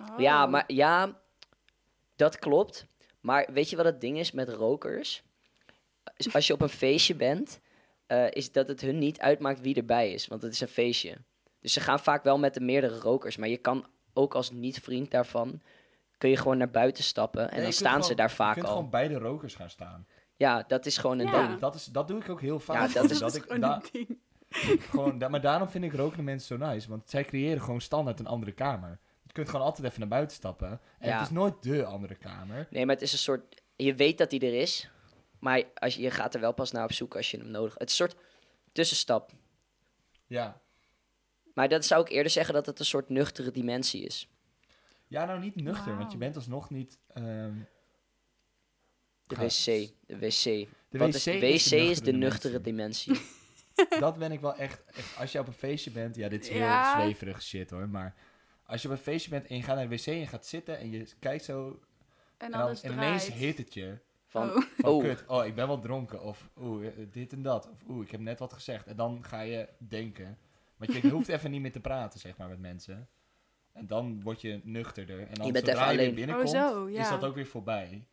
C: Oh.
B: Ja, maar ja, dat klopt. Maar weet je wat het ding is met rokers? als- als je op een feestje bent, eh, is dat het hun niet uitmaakt wie erbij is. Want het is een feestje. Dus ze gaan vaak wel met de meerdere rokers. Maar je kan ook als niet-vriend daarvan, kun je gewoon naar buiten stappen. En
A: Nee,
B: dan
A: je kunt
B: staan ze
A: gewoon-
B: daar
A: Je
B: vaak
A: kunt
B: al.
A: gewoon bij de rokers gaan staan.
B: Ja, dat is gewoon een
C: Ja.
B: ding.
A: Dat, is, dat doe ik ook heel vaak.
B: Ja, dat is- dus
A: dat
C: ik
A: ik, da- gewoon, da- maar daarom vind ik rokende mensen zo nice. Want zij creëren gewoon standaard een andere kamer. Je kunt gewoon altijd even naar buiten stappen. En
B: Ja.
A: het is nooit de andere kamer.
B: Nee, maar het is een soort. Je weet dat die er is. Maar als je, je gaat er wel pas naar op zoek als je hem nodig Het is een soort tussenstap.
A: Ja.
B: Maar dat zou ik eerder zeggen dat het een soort nuchtere dimensie is.
A: Ja, nou niet nuchter, want je
C: Wauw.
A: bent alsnog niet... ehm,
B: De
A: Ga-
B: wc. De wc.
A: de
B: Wat is, de wc is de, nuchtere
A: dimensie.
B: dimensie.
A: Dat ben ik wel echt, echt... Als je op een feestje bent... Ja, dit is heel
C: Ja.
A: zweverig shit hoor, maar... Als je op een feestje bent en je gaat naar de wc en je gaat zitten en je kijkt zo... En,
C: En
A: dan,
C: alles
A: en ineens
C: draait.
A: hit het je.
B: Van,
C: Oh.
A: Van
B: Oh.
A: kut, oh ik ben wel dronken. Of oeh, eh, dit en dat. Of oeh, ik heb net wat gezegd. En dan ga je denken. Want je hoeft even niet meer te praten, zeg maar, met mensen. En dan word je nuchterder. En dan
B: Je bent
A: zodra
B: even
A: je weer
B: alleen.
A: binnenkomt,
C: Oh, zo, ja.
A: is dat ook weer voorbij.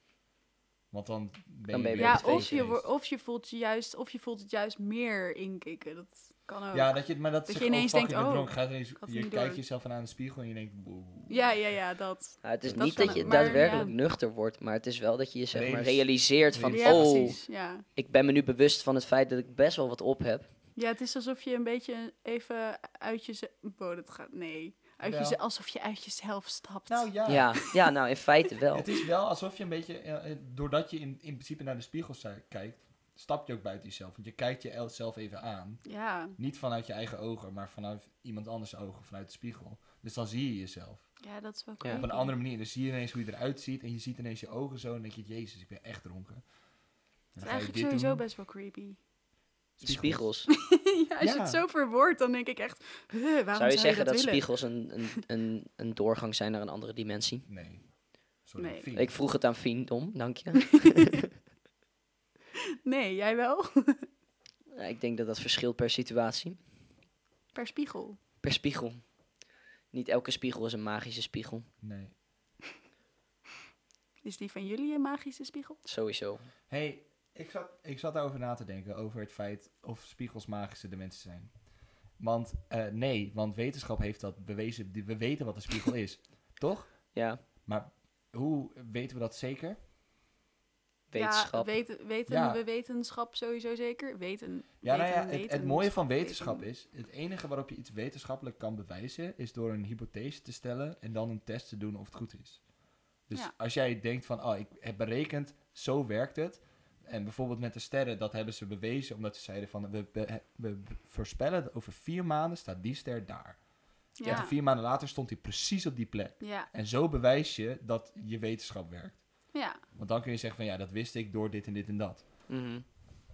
A: Want dan ben
B: ben
A: je
B: je
A: weer
B: weer
C: Ja,
A: op het
C: of je,
A: feestfeest.
C: wo- of, je voelt je juist, of je voelt het juist meer inkikken. Dat kan ook.
A: Ja,
C: Ja,
A: dat je, maar dat,
C: Dat
A: zeg
C: je ineens
A: oh, fuck,
C: denkt,
A: ik ben
C: oh,
A: dronken. Ga ineens,
C: had het
A: je
C: niet
A: kijkt
C: door.
A: jezelf aan in de spiegel en je denkt... wow.
C: ja, ja, dat.
B: Ja, Nou, het is
A: Dat
B: niet
A: kan
B: dat je
A: ook,
C: maar
B: daadwerkelijk
C: ja.
B: nuchter wordt, maar het is wel dat je je zeg maar
A: Realis-
B: realiseert van,
A: realis-
C: Ja,
B: oh,
C: precies. Ja.
B: ik ben me nu bewust van het feit dat ik best wel wat op heb.
C: ja, het is alsof je een beetje even uit jezelf... Wow, dat gaat... Nee. Uit
A: Wel.
C: jeze- alsof je uit jezelf stapt.
A: Nou ja.
B: Ja, ja, nou in feite wel.
A: Het is wel alsof je een beetje, eh, eh, doordat je in, in principe naar de spiegel sta- kijkt, stap je ook buiten jezelf. Want je kijkt jezelf even aan.
C: Ja.
A: Niet vanuit je eigen ogen, maar vanuit iemand anders ogen, vanuit de spiegel. Dus dan zie je jezelf.
C: ja, dat is wel
B: Ja.
A: Op een
C: creepy.
A: andere manier. Dan zie je ineens hoe je eruit ziet. En je ziet ineens je ogen zo. En denk je, jezus, ik ben echt dronken. En dan ga
C: Het is
A: je
C: eigenlijk
A: dit
C: sowieso
A: doen.
C: best wel creepy.
B: Spiegels.
C: ja, als je
A: Ja.
C: het zo verwoordt, dan denk ik echt... huh, waarom zou
B: Zou je zeggen dat,
C: dat, willen?
B: spiegels een, een, een, een doorgang zijn naar een andere dimensie?
A: Nee. Sorry,
C: Nee.
A: Fien.
B: Ik vroeg het aan Fiendom, dank je.
C: Nee, jij wel?
B: Ja, ik denk dat dat verschilt per situatie,
C: Per spiegel.
B: per spiegel. Niet elke spiegel is een magische spiegel,
A: Nee.
C: Is die van jullie een magische spiegel?
B: sowieso.
A: hey, ik zat, ik zat daarover na te denken. Over het feit of spiegels magische dimensies zijn. Want eh, nee, want wetenschap heeft dat bewezen. Die- We weten wat een spiegel is. Toch?
B: Ja,
A: Maar hoe weten we dat zeker?
B: wetenschap.
C: Ja, weten, weten
A: Ja.
C: we wetenschap sowieso zeker? Weten.
A: Ja,
C: weten,
A: nou ja, het, het
C: weten-
A: mooie van wetenschap
C: weten.
A: is, het enige waarop je iets wetenschappelijk kan bewijzen, is door een hypothese te stellen en dan een test te doen of het goed is. Dus
C: Ja.
A: als jij denkt van, oh, ik heb berekend, zo werkt het. En bijvoorbeeld met de sterren, dat hebben ze bewezen omdat ze zeiden van, we, be- we voorspellen dat over vier maanden staat die ster daar. En
C: Ja.
A: toen vier maanden later stond die precies op die plek.
C: Ja,
A: En zo bewijs je dat je wetenschap werkt.
C: ja.
A: Want dan kun je zeggen van, ja, dat wist ik door dit en dit en dat.
B: Mhm.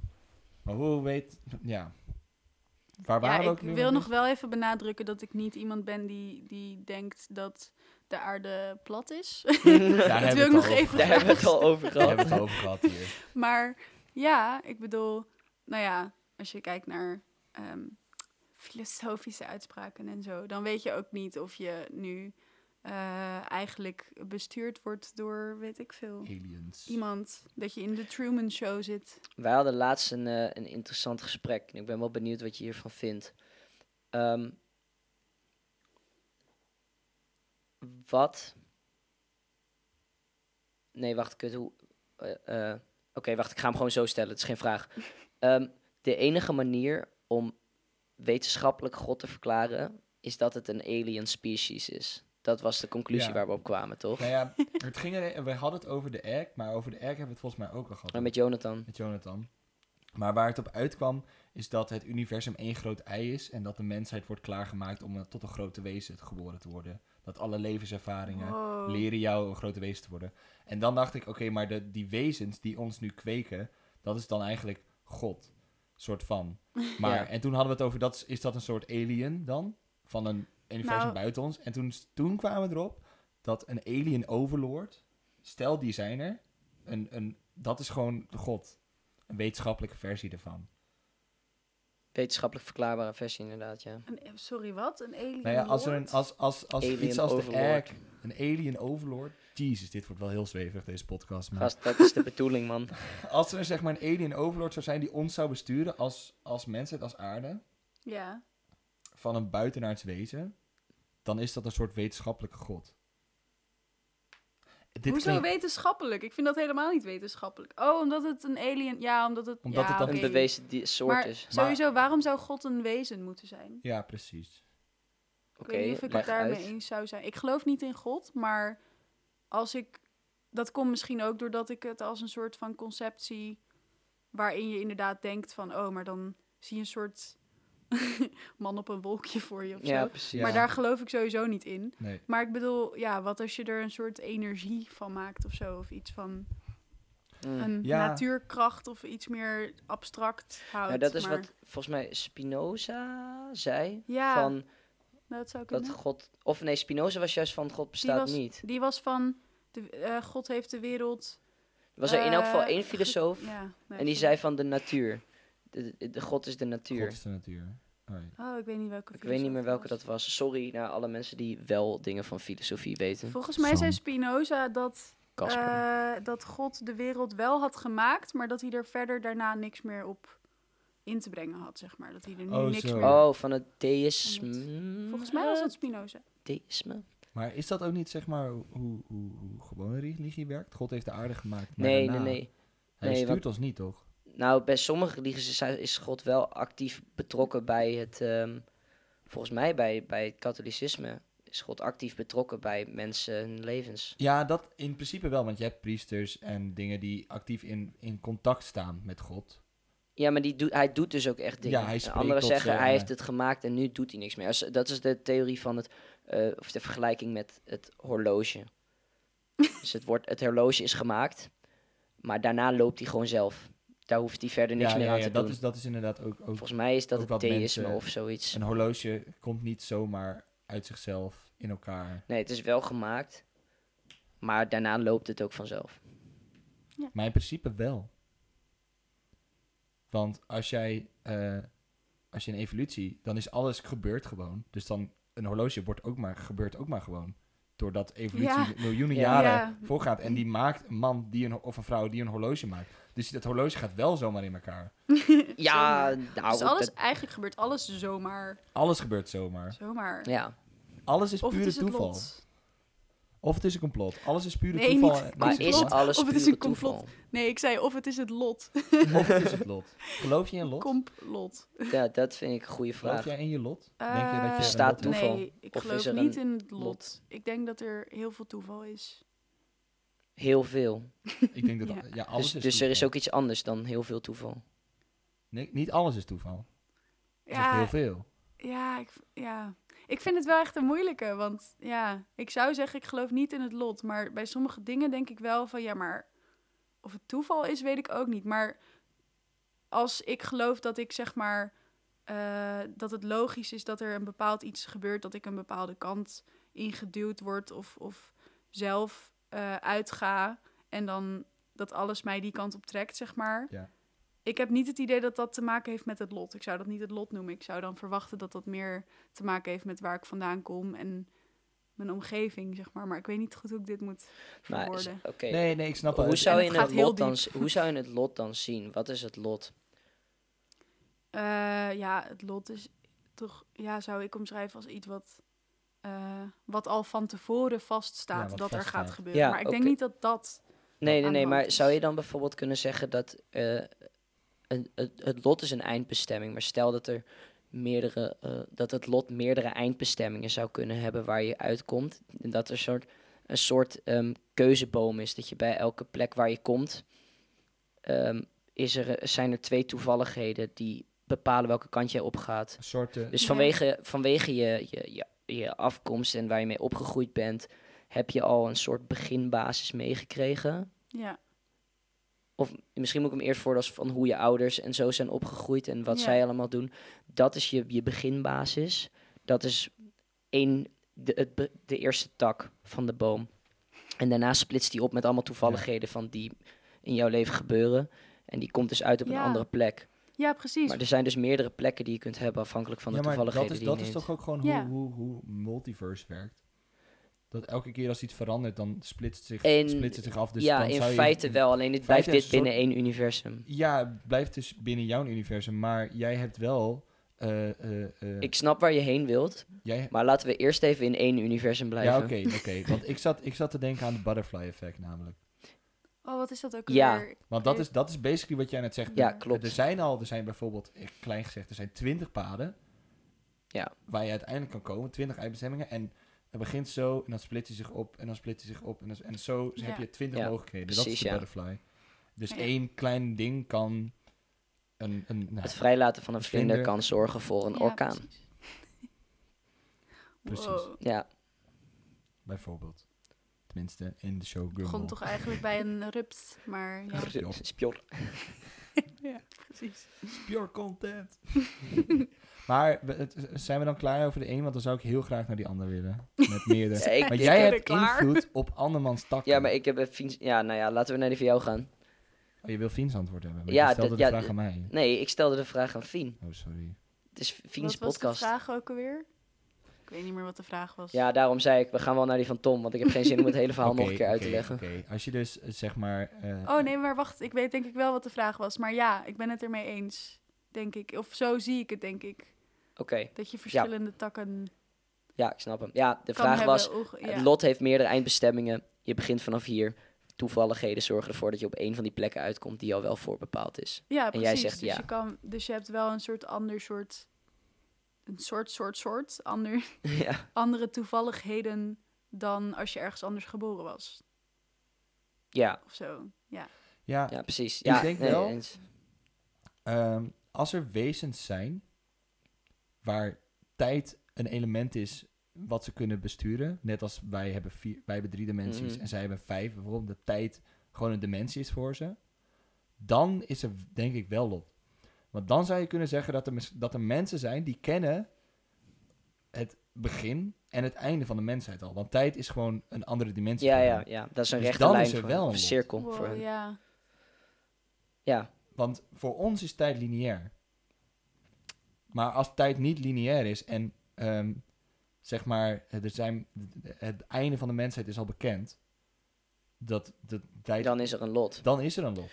A: Maar hoe weet, ja. Waar
C: ja
A: waren we ook
C: ik
A: nu
C: wil
A: mee?
C: nog wel even benadrukken dat ik niet iemand ben die, die denkt dat de aarde plat is.
A: Daar
C: dat
A: hebben
C: wil
A: we het
C: ik nog
A: al over.
C: even.
B: Daar hebben we het al over
A: Daar hebben
B: gehad.
A: we het over gehad hier.
C: Maar ja, ik bedoel, nou ja, als je kijkt naar ehm, filosofische uitspraken en zo, dan weet je ook niet of je nu eh, eigenlijk bestuurd wordt door, weet ik veel,
A: Aliens.
C: iemand. Dat je in de Truman Show zit.
B: Wij hadden laatst een, eh, een interessant gesprek. En ik ben wel benieuwd wat je hiervan vindt. Ehm, wat? Nee, wacht, kut. Hoe? eh, eh, Oké, wacht, ik ga hem gewoon zo stellen. Het is geen vraag. Ehm, de enige manier om wetenschappelijk God te verklaren is dat het een alien species is. Dat was de conclusie
A: Ja.
B: waar we op kwamen, toch?
A: Nou ja, het ging er, we hadden het over de egg, maar over de egg hebben we het volgens mij ook al gehad.
B: Maar met Jonathan.
A: met Jonathan. Maar waar het op uitkwam, is dat het universum één groot ei is en dat de mensheid wordt klaargemaakt om eh, tot een grote wezen te- geboren te worden. Dat alle levenservaringen
C: Wow.
A: leren jou een grote wezen te worden. En dan dacht ik, oké, maar de, die wezens die ons nu kweken, dat is dan eigenlijk God. Soort van. Maar,
B: Ja.
A: En toen hadden we het over, dat, is- is dat een soort alien dan? Van een universum
C: Nou.
A: buiten ons. En toen, toen kwamen we erop dat een alien overlord, stel die zijn er, een, een, dat is gewoon God. Een wetenschappelijke versie ervan.
B: Wetenschappelijk verklaarbare versie, inderdaad, ja.
C: Een, e-, sorry, wat? Een alien
A: Nou ja, als er een,
C: lord?
A: als, als, als
B: Alien
A: iets als de
B: overlord.
A: Egg, een alien overlord. Jezus, dit wordt wel heel zwevig, deze podcast. Maar
B: Gast, dat is de bedoeling, man.
A: als er zeg maar een alien overlord zou zijn die ons zou besturen als, als mensheid, als aarde,
C: Ja.
A: van een buitenaards wezen, dan is dat een soort wetenschappelijke god. Dit
C: Hoezo
A: klinkt-
C: wetenschappelijk? Ik vind dat helemaal niet wetenschappelijk. Oh, omdat het een alien... Ja, omdat het...
A: Omdat
C: ja,
A: het dan
C: Ah, oké.
B: Een bewezen die soort
C: Maar
B: is.
C: sowieso, waarom zou God een wezen moeten zijn?
A: Ja, precies.
B: Oké,
C: ik weet niet of ik
B: leg
C: het daarmee
B: uit.
C: eens zou zijn. Ik geloof niet in God, maar als ik. Dat komt misschien ook doordat ik het als een soort van concept zie. waarin je inderdaad denkt van. oh, maar dan zie je een soort. man op een wolkje voor je of
B: Ja,
C: zo.
B: precies.
C: Maar
A: Ja.
C: daar geloof ik sowieso niet in.
A: Nee.
C: Maar ik bedoel, ja, wat als je er een soort energie van maakt of zo? Of iets van
B: Mm.
C: een
A: Ja.
C: natuurkracht of iets meer abstract houdt.
B: Nou, dat is
C: maar
B: wat volgens mij Spinoza zei.
C: Ja.
B: Van
C: dat zou kunnen.
B: dat God. Of nee, Spinoza was juist van God bestaat
C: was-
B: niet.
C: Die was van. De, eh, God heeft de wereld.
B: Was er in elk geval
C: eh,
B: één
C: ge-
B: filosoof.
C: Ja, nee,
B: en die
C: sorry.
B: zei van de natuur. De, de- de God is de natuur.
A: God is de natuur. Alright.
C: Oh, ik weet niet welke.
B: Ik weet niet
C: filosoof
B: meer
C: het
B: welke dat was. Sorry naar alle mensen die wel dingen van filosofie weten.
C: Volgens mij
A: Sam.
C: zei Spinoza dat,
B: Casper.
C: eh, dat God de wereld wel had gemaakt, maar dat hij er verder daarna niks meer op in te brengen had, zeg maar. Dat hij er nu
A: Oh,
C: niks
A: zo.
C: meer...
B: oh, van het deïsme.
C: Volgens mij was dat Spinoza.
B: Deïsme?
A: Maar is dat ook niet zeg maar hoe, hoe, hoe gewone religie werkt? God heeft de aarde gemaakt. maar
B: Nee, nee,
A: daarna-
B: nee.
A: Hij
B: Nee,
A: stuurt
B: want-
A: ons niet, toch?
B: Nou, bij sommige religies is, hij- is God wel actief betrokken bij het. ehm, volgens mij bij, bij het katholicisme is God actief betrokken bij mensen hun levens.
A: Ja, dat in principe wel, want je hebt priesters en dingen die actief in, in contact staan met God.
B: Ja, maar die doet, hij doet dus ook echt dingen.
A: Ja, hij
B: En
A: spreekt
B: Anderen
A: tot
B: zeggen
A: ze,
B: hij
A: eh,
B: heeft het gemaakt en nu doet hij niks meer. Dus Dat is de theorie van het. eh, of de vergelijking met het horloge. dus het, wordt, het horloge is gemaakt, maar daarna loopt hij gewoon zelf. Daar hoeft hij verder niks
A: ja,
B: meer
A: ja,
B: aan
A: ja,
B: te
A: dat
B: doen.
A: Is, dat is inderdaad ook, ook...
B: Volgens mij is dat
A: ook
B: het
A: wat
B: theïsme
A: mensen-
B: of zoiets.
A: Een horloge komt niet zomaar uit zichzelf in elkaar.
B: Nee, het is wel gemaakt. Maar daarna loopt het ook vanzelf.
A: Maar in principe wel. Want als jij... eh, als je een evolutie... Dan is alles gebeurd gewoon. Dus dan... Een horloge wordt ook maar, gebeurt ook maar gewoon. Doordat evolutie
C: Ja.
A: miljoenen
B: Ja.
A: jaren
C: Ja.
A: voorgaat. En die maakt een man die een, of een vrouw die een horloge maakt. Dus dat horloge gaat wel zomaar in elkaar.
B: Ja, nou,
C: dus alles,
B: dat-
C: eigenlijk gebeurt alles zomaar.
A: Alles gebeurt zomaar.
C: zomaar.
B: ja.
A: Alles is
C: Of
A: pure
C: het is het
A: toeval.
C: lot.
A: Of het is een complot. Alles is pure
C: Nee,
A: toeval.
C: niet
A: en-
B: Maar
C: Complot.
B: is alles
C: Of het is
B: pure
C: een complot.
B: toeval?
C: Nee, ik zei of het is het lot.
A: Of het is het lot. Geloof je in lot?
C: Complot.
B: Ja, dat vind ik een goede
A: Geloof
B: vraag.
A: jij in je lot? Denk je dat je
C: Eh,
B: Bestaat
A: een lot hebt?
B: toeval?
C: Nee, ik
B: Of is
C: geloof
B: er
C: niet
B: een
C: in het lot.
B: lot?
C: Ik denk dat er heel veel toeval is.
B: Heel veel.
A: Ik denk dat
C: Ja.
A: ja. alles
B: dus
A: is
B: dus er is
A: toeval.
B: ook iets anders dan heel veel toeval.
A: Nee, niet alles is toeval. Er is echt
C: Ja,
A: heel veel.
C: Ja ik, ja, ik vind het wel echt een moeilijke. Want ja, ik zou zeggen, ik geloof niet in het lot. Maar bij sommige dingen denk ik wel van ja, maar of het toeval is, weet ik ook niet. Maar als ik geloof dat ik zeg maar eh, dat het logisch is dat er een bepaald iets gebeurt, dat ik een bepaalde kant ingeduwd word of, of zelf eh, uitga en dan dat alles mij die kant op trekt, zeg maar.
A: Ja.
C: Ik heb niet het idee dat dat te maken heeft met het lot. Ik zou dat niet het lot noemen. Ik zou dan verwachten dat dat meer te maken heeft met waar ik vandaan kom en mijn omgeving, zeg maar. Maar ik weet niet goed hoe ik dit moet
B: Maar is-
C: verwoorden.
B: oké.
A: Nee, nee, ik snap wel.
B: Hoe
A: Het-
B: zou,
C: het
B: je
C: gaat
B: het
C: heel
B: lot dan,
C: diep.
B: hoe zou je het lot dan zien? Wat is het lot?
C: Eh, ja, het lot is toch, ja, zou ik omschrijven als iets wat, eh, wat al van tevoren vaststaat
A: Ja, wat
C: dat er
A: vaststaat.
C: gaat gebeuren.
B: Ja,
C: maar ik
B: oké.
C: denk niet dat dat.
B: Nee, nee,
C: aan de
B: nee.
C: hand
B: Maar
C: is.
B: zou je dan bijvoorbeeld kunnen zeggen dat eh, een, het, het lot is een eindbestemming, maar stel dat er meerdere, eh, dat het lot meerdere eindbestemmingen zou kunnen hebben waar je uitkomt, en dat er een soort, een soort ehm, keuzeboom is, dat je bij elke plek waar je komt, ehm, is er, eh, zijn er twee toevalligheden die bepalen welke kant jij opgaat.
A: Een soort... eh,
B: Dus
C: Ja.
B: vanwege, vanwege je, je, je, je afkomst en waar je mee opgegroeid bent, heb je al een soort beginbasis meegekregen.
C: Ja,
B: Of misschien moet ik hem eerst voordoen als van hoe je ouders en zo zijn opgegroeid en wat
C: Ja.
B: zij allemaal doen. Dat is je, je beginbasis. Dat is één, de, het be- de eerste tak van de boom. En daarna splitst die op met allemaal toevalligheden van die in jouw leven gebeuren. En die komt dus uit op een
C: Ja.
B: andere plek.
C: Ja, precies.
B: Maar er zijn dus meerdere plekken die je kunt hebben afhankelijk van de
A: ja, maar
B: toevalligheden
A: dat is,
B: die je
A: dat is
B: neemt.
A: toch ook gewoon
C: Ja.
A: hoe, hoe, hoe multiverse werkt. Dat elke keer als iets verandert, dan splitst, zich,
B: En-
A: splitst het zich af. Dus
B: ja,
A: dan
B: in
A: zou je-
B: feite wel. Alleen dit
A: feite
B: blijft
A: is
B: dit
A: een
B: binnen één universum.
A: Ja, het blijft dus binnen jouw universum, maar jij hebt wel... eh, eh, eh,
B: Ik snap waar je heen wilt,
A: jij,
B: maar laten we eerst even in één universum blijven.
A: ja, oké, oké. Want ik zat, ik zat te denken aan de butterfly effect namelijk.
C: Oh, wat is dat ook
B: Ja.
C: alweer?
A: Want dat is, dat is basically wat jij net zegt.
B: Ja,
C: Er-
B: klopt.
A: Er zijn al, er zijn bijvoorbeeld, eh, klein gezegd, er zijn twintig paden.
B: Ja.
A: Waar je uiteindelijk kan komen, twintig eindbestemmingen. En het begint zo, en dan split hij zich op, en dan split hij zich op. En, dan, en zo
C: Ja.
A: heb je twintig
B: Ja,
A: mogelijkheden. dat is
B: precies,
A: de
B: ja.
A: butterfly. Dus
C: Ja.
A: één klein ding kan een... een nou,
B: Het vrijlaten van een
A: Een
B: vlinder
A: vlinder.
B: kan zorgen voor een
C: Ja,
B: orkaan.
C: precies.
A: Precies.
C: Wow.
B: Ja,
A: bijvoorbeeld. Tenminste, in de show
C: Begon
A: Gumball.
C: toch eigenlijk bij een rups, maar ja,
A: Spjor.
B: spjor.
C: ja precies.
A: Pure content. maar we- het- zijn we dan klaar over de een? Want dan zou ik heel graag naar die ander willen. Met meerdere.
B: Ja, ik-
A: Maar
B: ik-
A: jij
C: ben
A: hebt
C: klaar.
A: invloed op andermans takken.
B: Ja, maar ik heb even... Ja, nou ja, laten we naar die van jou gaan.
A: Oh, je wil Fiens antwoord hebben. Maar
B: Ja,
A: je stelde
B: dat-
A: de
B: ja,
A: vraag
B: d-
A: aan mij.
B: Nee, ik stelde de vraag aan Fien.
A: Oh, sorry.
B: Het is Fien's
C: Wat was de
B: podcast.
C: vraag ook alweer? Ik weet niet meer wat de vraag was.
B: Ja, daarom zei ik, we gaan wel naar die van Tom, want ik heb geen zin om het hele verhaal
A: Oké,
B: nog een keer uit te
A: oké,
B: leggen.
A: Oké, als je dus eh, zeg maar... eh,
C: Oh nee, maar wacht, ik weet denk ik wel wat de vraag was. Maar ja, ik ben het ermee eens, denk ik. Of zo zie ik het, denk ik.
B: Oké,
C: Dat je verschillende takken
B: ja, ik snap hem. Ja, de
C: kan
B: vraag
C: hebben.
B: was,
C: oog- ja.
B: het lot heeft meerdere eindbestemmingen. Je begint vanaf hier. Toevalligheden zorgen ervoor dat je op één van die plekken uitkomt die al wel voorbepaald is.
C: Ja,
B: En
C: precies.
B: jij zegt
C: dus,
B: ja.
C: je kan, dus je hebt wel een soort ander soort... Een soort, soort, soort. Ander,
B: ja,
C: andere toevalligheden dan als je ergens anders geboren was.
B: ja,
C: Of zo. Ja.
A: ja,
B: ja, precies. Ja,
A: denk
B: nee,
A: wel-
B: eens.
A: ehm, als er wezens zijn... waar tijd een element is wat ze kunnen besturen... net als wij hebben, vier, wij hebben drie dimensies
B: Mhm.
A: en zij hebben vijf... bijvoorbeeld dat tijd gewoon een dimensie is voor ze... dan is er denk ik wel lot. Want dan zou je kunnen zeggen dat er, mis- dat er mensen zijn die kennen het begin en het einde van de mensheid al. Want tijd is gewoon een andere dimensie.
B: Ja,
A: voor hen.
B: ja, ja, dat is een
A: Dus
B: rechte
A: dan
B: lijn
A: is er
B: voor
A: wel
B: hen,
A: een
B: of een
A: lot.
B: cirkel
C: Wow,
B: voor hen. Ja.
C: ja.
A: Want voor ons is tijd lineair. Maar als tijd niet lineair is en ehm, zeg maar, er zijn, het einde van de mensheid is al bekend, dat, dat tijd, dan,
B: dan is er een lot.
A: is er een lot.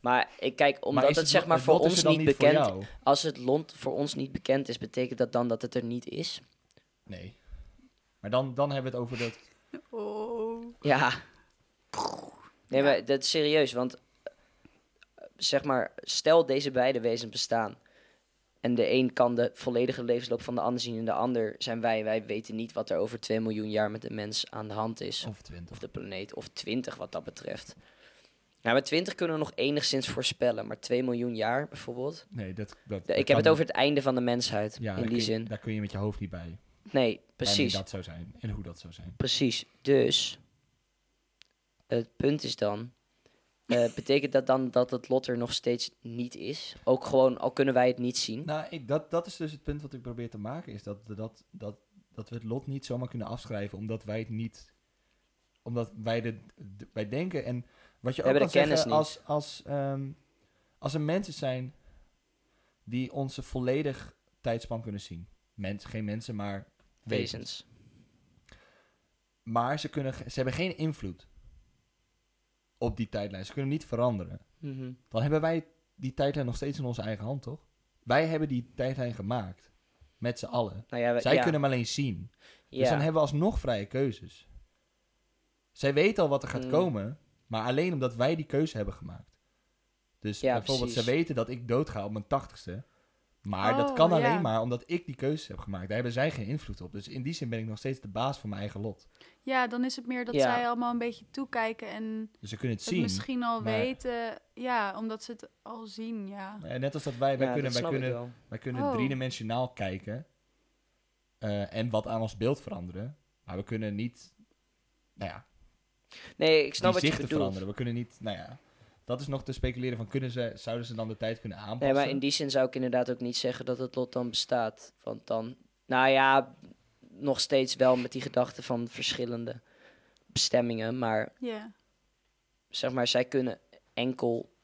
B: Maar ik kijk, omdat
A: Maar is
B: het, zeg
A: lo-
B: maar voor
A: lot is er
B: ons
A: dan
B: niet
A: voor
B: bekend
A: jou?
B: Als het lot voor ons niet bekend is, betekent dat dan dat het er niet is?
A: Nee. Maar dan, dan hebben we het over dat.
C: Oh.
B: Ja. Nee,
C: Ja.
B: maar dat is serieus, want eh, zeg maar, stel deze beide wezens bestaan. En de een kan de volledige levensloop van de ander zien en de ander zijn wij. Wij weten niet wat er over 2 miljoen jaar met de mens aan de hand is.
A: Of twintig.
B: Of de planeet, of 20 wat dat betreft. Nou, met 20 kunnen we nog enigszins voorspellen, maar 2 miljoen jaar bijvoorbeeld.
A: Nee, dat. dat,
B: De-
A: dat
B: Ik
A: kan
B: heb het
A: niet.
B: over het einde van de mensheid,
A: Ja, daar
B: in
A: kun
B: die
A: je-
B: zin.
A: Daar kun je met je hoofd niet bij.
B: Nee,
A: Precies.
B: precies.
A: dat zou zijn en hoe dat zou zijn.
B: Precies. Dus het punt is dan. eh, betekent dat dan dat het lot er nog steeds niet is? Ook gewoon, al kunnen wij het niet zien.
A: Nou, ik, dat, dat is dus het punt wat ik probeer te maken. Is dat, dat, dat, dat we het lot niet zomaar kunnen afschrijven. Omdat wij het niet. Omdat wij, de, de- wij denken. En wat je
B: We
A: ook
B: hebben
A: kan
B: de kennis
A: zeggen.
B: niet.
A: Als, als, ehm, als er mensen zijn. die onze volledig tijdspan kunnen zien. Mens, geen mensen, maar wezens.
B: wezens.
A: Maar ze, kunnen, ge- ze hebben geen invloed op die tijdlijn. Ze kunnen niet veranderen.
B: Mhm.
A: dan hebben wij die tijdlijn nog steeds in onze eigen hand, toch? Wij hebben die tijdlijn gemaakt. Met z'n allen.
B: Nou ja, we-
A: Zij
B: ja,
A: kunnen hem alleen zien.
B: ja.
A: Dus dan hebben we alsnog vrije keuzes. Zij weten al wat er gaat
B: Mm.
A: komen, maar alleen omdat wij die keuze hebben gemaakt. Dus
B: Ja,
A: bijvoorbeeld,
B: precies.
A: ze weten dat ik doodga op mijn tachtigste. Maar dat
C: Oh,
A: kan alleen
C: ja.
A: maar omdat ik die keuzes heb gemaakt. Daar hebben zij geen invloed op. Dus in die zin ben ik nog steeds de baas van mijn eigen lot.
C: Ja, dan is het meer dat
B: Ja.
C: zij allemaal een beetje toekijken en
A: Dus ze kunnen het
C: het
A: zien.
C: misschien al
A: maar-
C: weten. Ja, omdat ze het al zien, ja.
A: Eh, Net als dat wij, wij
B: Ja,
A: kunnen,
B: dat
A: wij
B: snap ik
A: kunnen
B: wel.
A: Wij kunnen
C: Oh.
A: driedimensionaal kijken eh, en wat aan ons beeld veranderen. Maar we kunnen niet, nou ja,
B: Nee, ik snap
A: die
B: wat je
A: zichten
B: bedoelt.
A: veranderen. We kunnen niet, nou ja, dat is nog te speculeren van kunnen ze, zouden ze dan de tijd kunnen aanpassen?
B: Nee, maar in die zin zou ik inderdaad ook niet zeggen dat het lot dan bestaat. Want dan, nou ja, nog steeds wel met die gedachte van verschillende bestemmingen. Maar
C: Ja.
B: zeg maar, zij kunnen enkel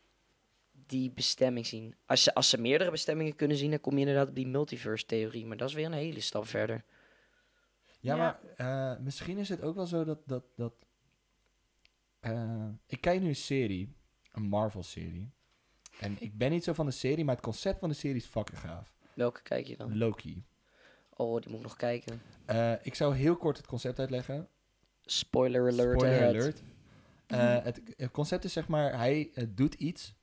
B: die bestemming zien. Als ze, als ze meerdere bestemmingen kunnen zien, dan kom je inderdaad op die multiverse-theorie. Maar dat is weer een hele stap verder.
A: Ja,
C: Ja.
A: maar eh, misschien is het ook wel zo dat... dat, dat eh, ik kijk nu een serie, een Marvel-serie. En ik ben niet zo van de serie, maar het concept van de serie is fucking gaaf.
B: Welke kijk je dan?
A: Loki.
B: Oh, die moet ik nog kijken.
A: Eh, ik zou heel kort het concept uitleggen.
B: Spoiler alert.
A: Spoiler
B: ahead.
A: alert. Eh, het, het concept is zeg maar, hij eh, doet iets.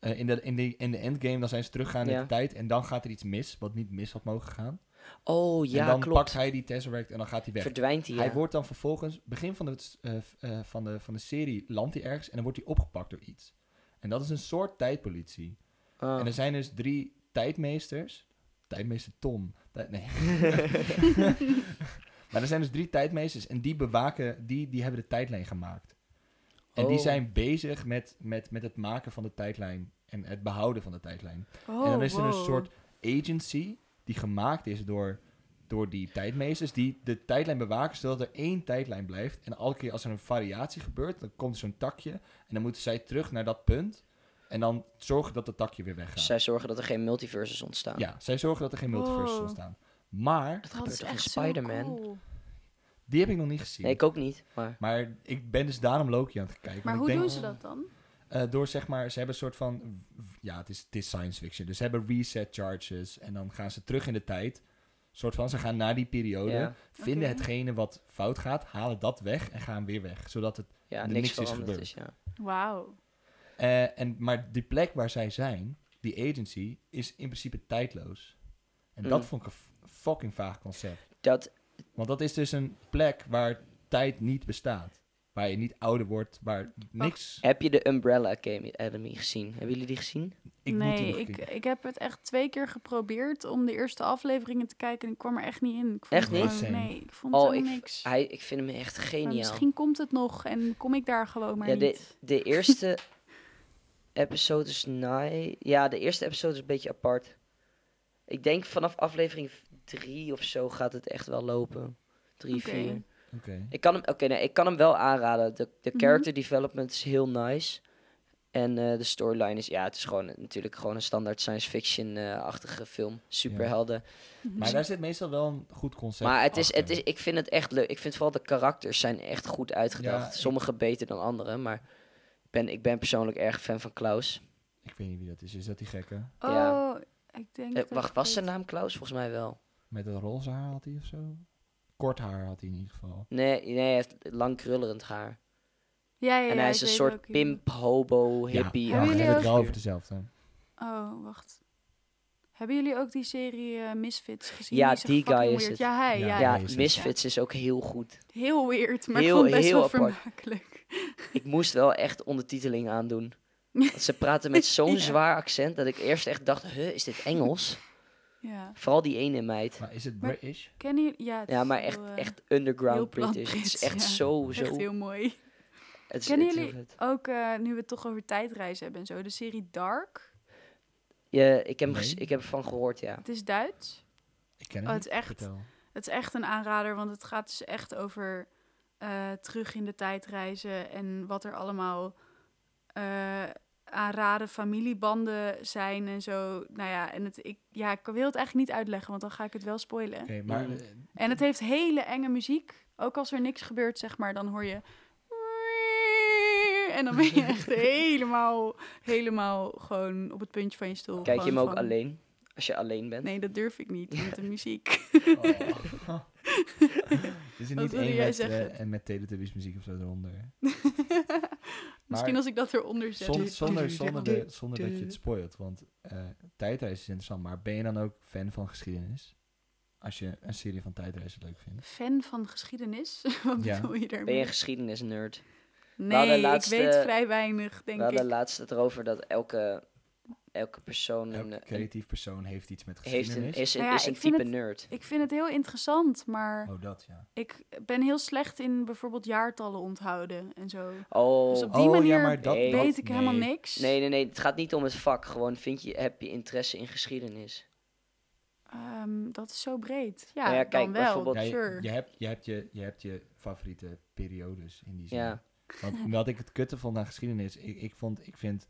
A: Eh, in, de, in, de, in de endgame dan zijn ze teruggaan in
B: Ja.
A: de tijd. En dan gaat er iets mis, wat niet mis had mogen gaan.
B: Oh ja,
A: en dan
B: klopt.
A: pakt hij die Tesseract en dan gaat hij weg.
B: Verdwijnt hij.
A: Hij
B: ja.
A: wordt dan vervolgens, begin van de, eh, f- eh, van, de, van de serie, landt hij ergens en dan wordt hij opgepakt door iets. En dat is een soort tijdpolitie.
B: Ah.
A: En er zijn dus drie tijdmeesters. Tijdmeester Tom. Tijd, nee. maar er zijn dus drie tijdmeesters en die bewaken, die, die hebben de tijdlijn gemaakt. En die
B: Oh.
A: zijn bezig met, met, met het maken van de tijdlijn en het behouden van de tijdlijn.
C: Oh,
A: en dan is er een
C: wow.
A: soort agency die gemaakt is door, door die tijdmeesters die de tijdlijn bewaken zodat er één tijdlijn blijft. En elke keer als er een variatie gebeurt, dan komt zo'n takje en dan moeten zij terug naar dat punt. En dan zorgen dat dat takje weer weggaat.
B: Zij zorgen dat er geen multiverses ontstaan.
A: Ja, zij zorgen dat er geen multiverses
C: Wow.
A: ontstaan. Maar,
B: Dat
C: Dat
B: gebeurt
C: is
B: toch in
C: echt
B: Spider-Man?
C: Spider-Man.
A: die heb ik nog niet gezien.
B: Nee, ik ook niet. Maar
A: Maar ik ben dus daarom Loki aan het kijken.
C: Maar
A: want
C: hoe
A: ik denk,
C: doen ze dat dan?
A: eh, door zeg maar, ze hebben een soort van, ja, het is, het is science fiction. Dus ze hebben reset charges en dan gaan ze terug in de tijd. Soort van, ze gaan naar die periode,
B: ja,
A: vinden
C: Oké.
A: hetgene wat fout gaat, halen dat weg en gaan weer weg. Zodat het,
B: ja
A: Er
B: niks,
A: niks is
B: veranderd
A: gebeurd.
B: is. Ja.
C: Wauw.
A: eh, en, maar die plek waar zij zijn, die agency, is in principe tijdloos. En dat
B: Mm.
A: vond ik een f- fucking vaag concept.
B: Dat,
A: Want dat is dus een plek waar tijd niet bestaat. Waar je niet ouder wordt, waar niks...
B: heb je de Umbrella Academy- Academy gezien? Hebben jullie die gezien?
A: Ik moet die
C: nee,
A: nog
C: ik,
A: kijken.
C: ik heb het echt twee keer geprobeerd om de eerste afleveringen te kijken en ik kwam er echt niet in. Ik vond
B: Echt
C: het
B: niet?
C: gewoon-
A: Same.
C: nee, ik vond
B: Oh,
C: het
B: ik,
C: helemaal
B: v-
C: niks.
B: hij, ik vind hem echt
C: Maar
B: geniaal.
C: misschien komt het nog en kom ik daar gewoon maar
B: ja, de,
C: niet.
B: de eerste episode is nai. Ja, de eerste episode is een beetje apart. Ik denk vanaf aflevering 3 of zo gaat het echt wel lopen. 3,
C: Oké.
B: 4.
A: Oké.
B: Ik kan hem, oké, nee, ik kan hem wel aanraden. De, de
C: Mhm.
B: character development is heel nice. En eh, de storyline is, ja, het is gewoon natuurlijk gewoon een standaard science fiction-achtige film. Superhelden.
C: Dus
A: Maar daar zit meestal wel een goed concept
B: maar het is,
A: achter.
B: het is, ik vind het echt leuk. Ik vind vooral de karakters zijn echt goed uitgedacht.
A: Ja, ik-
B: Sommige beter dan andere, maar ik ben, ik ben persoonlijk erg fan van Klaus.
A: Ik weet niet wie dat is. Is dat die gekke?
C: Oh,
B: ja.
C: ik denk.
B: Eh,
C: dat
B: wacht,
C: ik
B: was zijn
C: weet-
B: naam Klaus? Volgens mij wel.
A: Met een roze haar had hij of zo? Kort haar had hij in ieder geval.
B: Nee, nee hij heeft lang krullerend haar.
C: Ja, ja,
B: nou- en
C: ja,
B: hij
C: ik
B: is een
C: weet
B: soort
C: welke je
B: pimp, hobo, hippie.
A: Ja,
C: Hebben
A: we
C: jullie
A: hebben het wel
B: ook-
A: over dezelfde.
C: bedoelt. Oh, wacht. Hebben jullie ook die serie eh, Misfits gezien?
B: Ja,
C: is echt
B: die guy
C: fucking
B: is
C: weird.
B: het.
C: Ja, hij.
A: Ja.
C: Ja,
B: Ja,
A: nee, is het.
B: Misfits is ook heel goed.
C: Heel weird, maar
B: Heel-
C: ik vond het best
B: heel
C: wel
B: apart.
C: vermakelijk.
B: Ik moest wel echt ondertiteling aandoen. Want ze praten met zo'n
C: Ja.
B: zwaar accent dat ik eerst echt dacht, huh, is dit Engels?
C: Ja.
B: Vooral die ene meid.
A: Maar is het
C: Maar-
A: British?
C: Kennen jullie? Ja, het
B: Ja,
C: is
B: maar
C: heel,
B: echt,
C: eh,
B: echt
C: heel
B: underground
C: plat
B: British. Het is
C: Brits,
B: echt
C: ja.
B: zo, zo.
C: echt heel mooi.
B: het is
C: Kennen
B: echt heel
C: jullie-
B: vet.
C: Ook eh, nu we het toch over tijdreizen hebben en zo. De serie Dark.
B: Ja, ik, heb hem
A: Nee.
B: gez- ik heb ervan gehoord, ja.
C: Het is Duits.
A: Ik ken
C: Oh,
A: hem
C: het is echt,
A: Vertel.
C: het is echt een aanrader, want het gaat dus echt over eh, terug in de tijd reizen en wat er allemaal eh, aan rare familiebanden zijn en zo. Nou ja, en het, ik, ja, ik wil het eigenlijk niet uitleggen, want dan ga ik het wel spoilen.
A: Oké, maar
B: Mm.
A: eh,
C: En het heeft hele enge muziek. Ook als er niks gebeurt, zeg maar, dan hoor je. En dan ben je echt helemaal, helemaal gewoon op het puntje van je stoel.
B: Kijk je hem
C: Gewoon
B: ook
C: Oh, van,
B: alleen? Als je alleen bent?
C: Nee, dat durf ik niet met de muziek.
A: oh. is er
C: Wat
A: niet
C: wilde
A: één
C: jij
A: met,
C: zeggen?
A: eh, en met Teletubbies muziek of zo eronder?
C: Misschien als ik dat eronder zet.
A: Zon-
C: Dus-
A: zonder, zonder, de- zonder dat je het spoilt. Want eh tijdreizen is interessant. Maar ben je dan ook fan van geschiedenis? Als je een serie van tijdreizen leuk vindt.
C: Fan van geschiedenis? Wat
A: Ja.
C: bedoel je
B: Ben je
C: daarmee?
B: een geschiedenisnerd? hadden
C: Nee,
B: laatst,
C: ik weet
B: eh,
C: vrij weinig,
B: We
C: denk ik.
B: hadden laatst het erover dat elke, elke persoon een,
A: Elke
B: een-
A: creatief persoon heeft iets met
B: heeft een,
A: geschiedenis.
B: is, een,
C: Nou ja,
B: is een
C: ik vind
B: type
C: het-
B: nerd.
C: Ik vind het heel interessant, maar
A: Oh, dat ja.
C: ik ben heel slecht in bijvoorbeeld jaartallen onthouden en zo.
B: Oh,
C: Dus op die
A: oh,
C: manier
A: ja, maar dat
B: Nee.
A: dat-
C: weet ik helemaal
A: nee.
C: niks.
B: Nee, nee, nee. Het gaat niet om het vak. Gewoon vind je, heb je interesse in geschiedenis.
C: Ehm, dat is zo breed. Ja,
B: Nou ja, kijk,
C: dan wel.
B: bijvoorbeeld-
A: Ja, je-
C: sure.
A: je, hebt, je, hebt je, je hebt je favoriete periodes in die zin.
B: Ja.
A: Want wat ik het kutte vond aan geschiedenis, ik, ik, vond, ik vind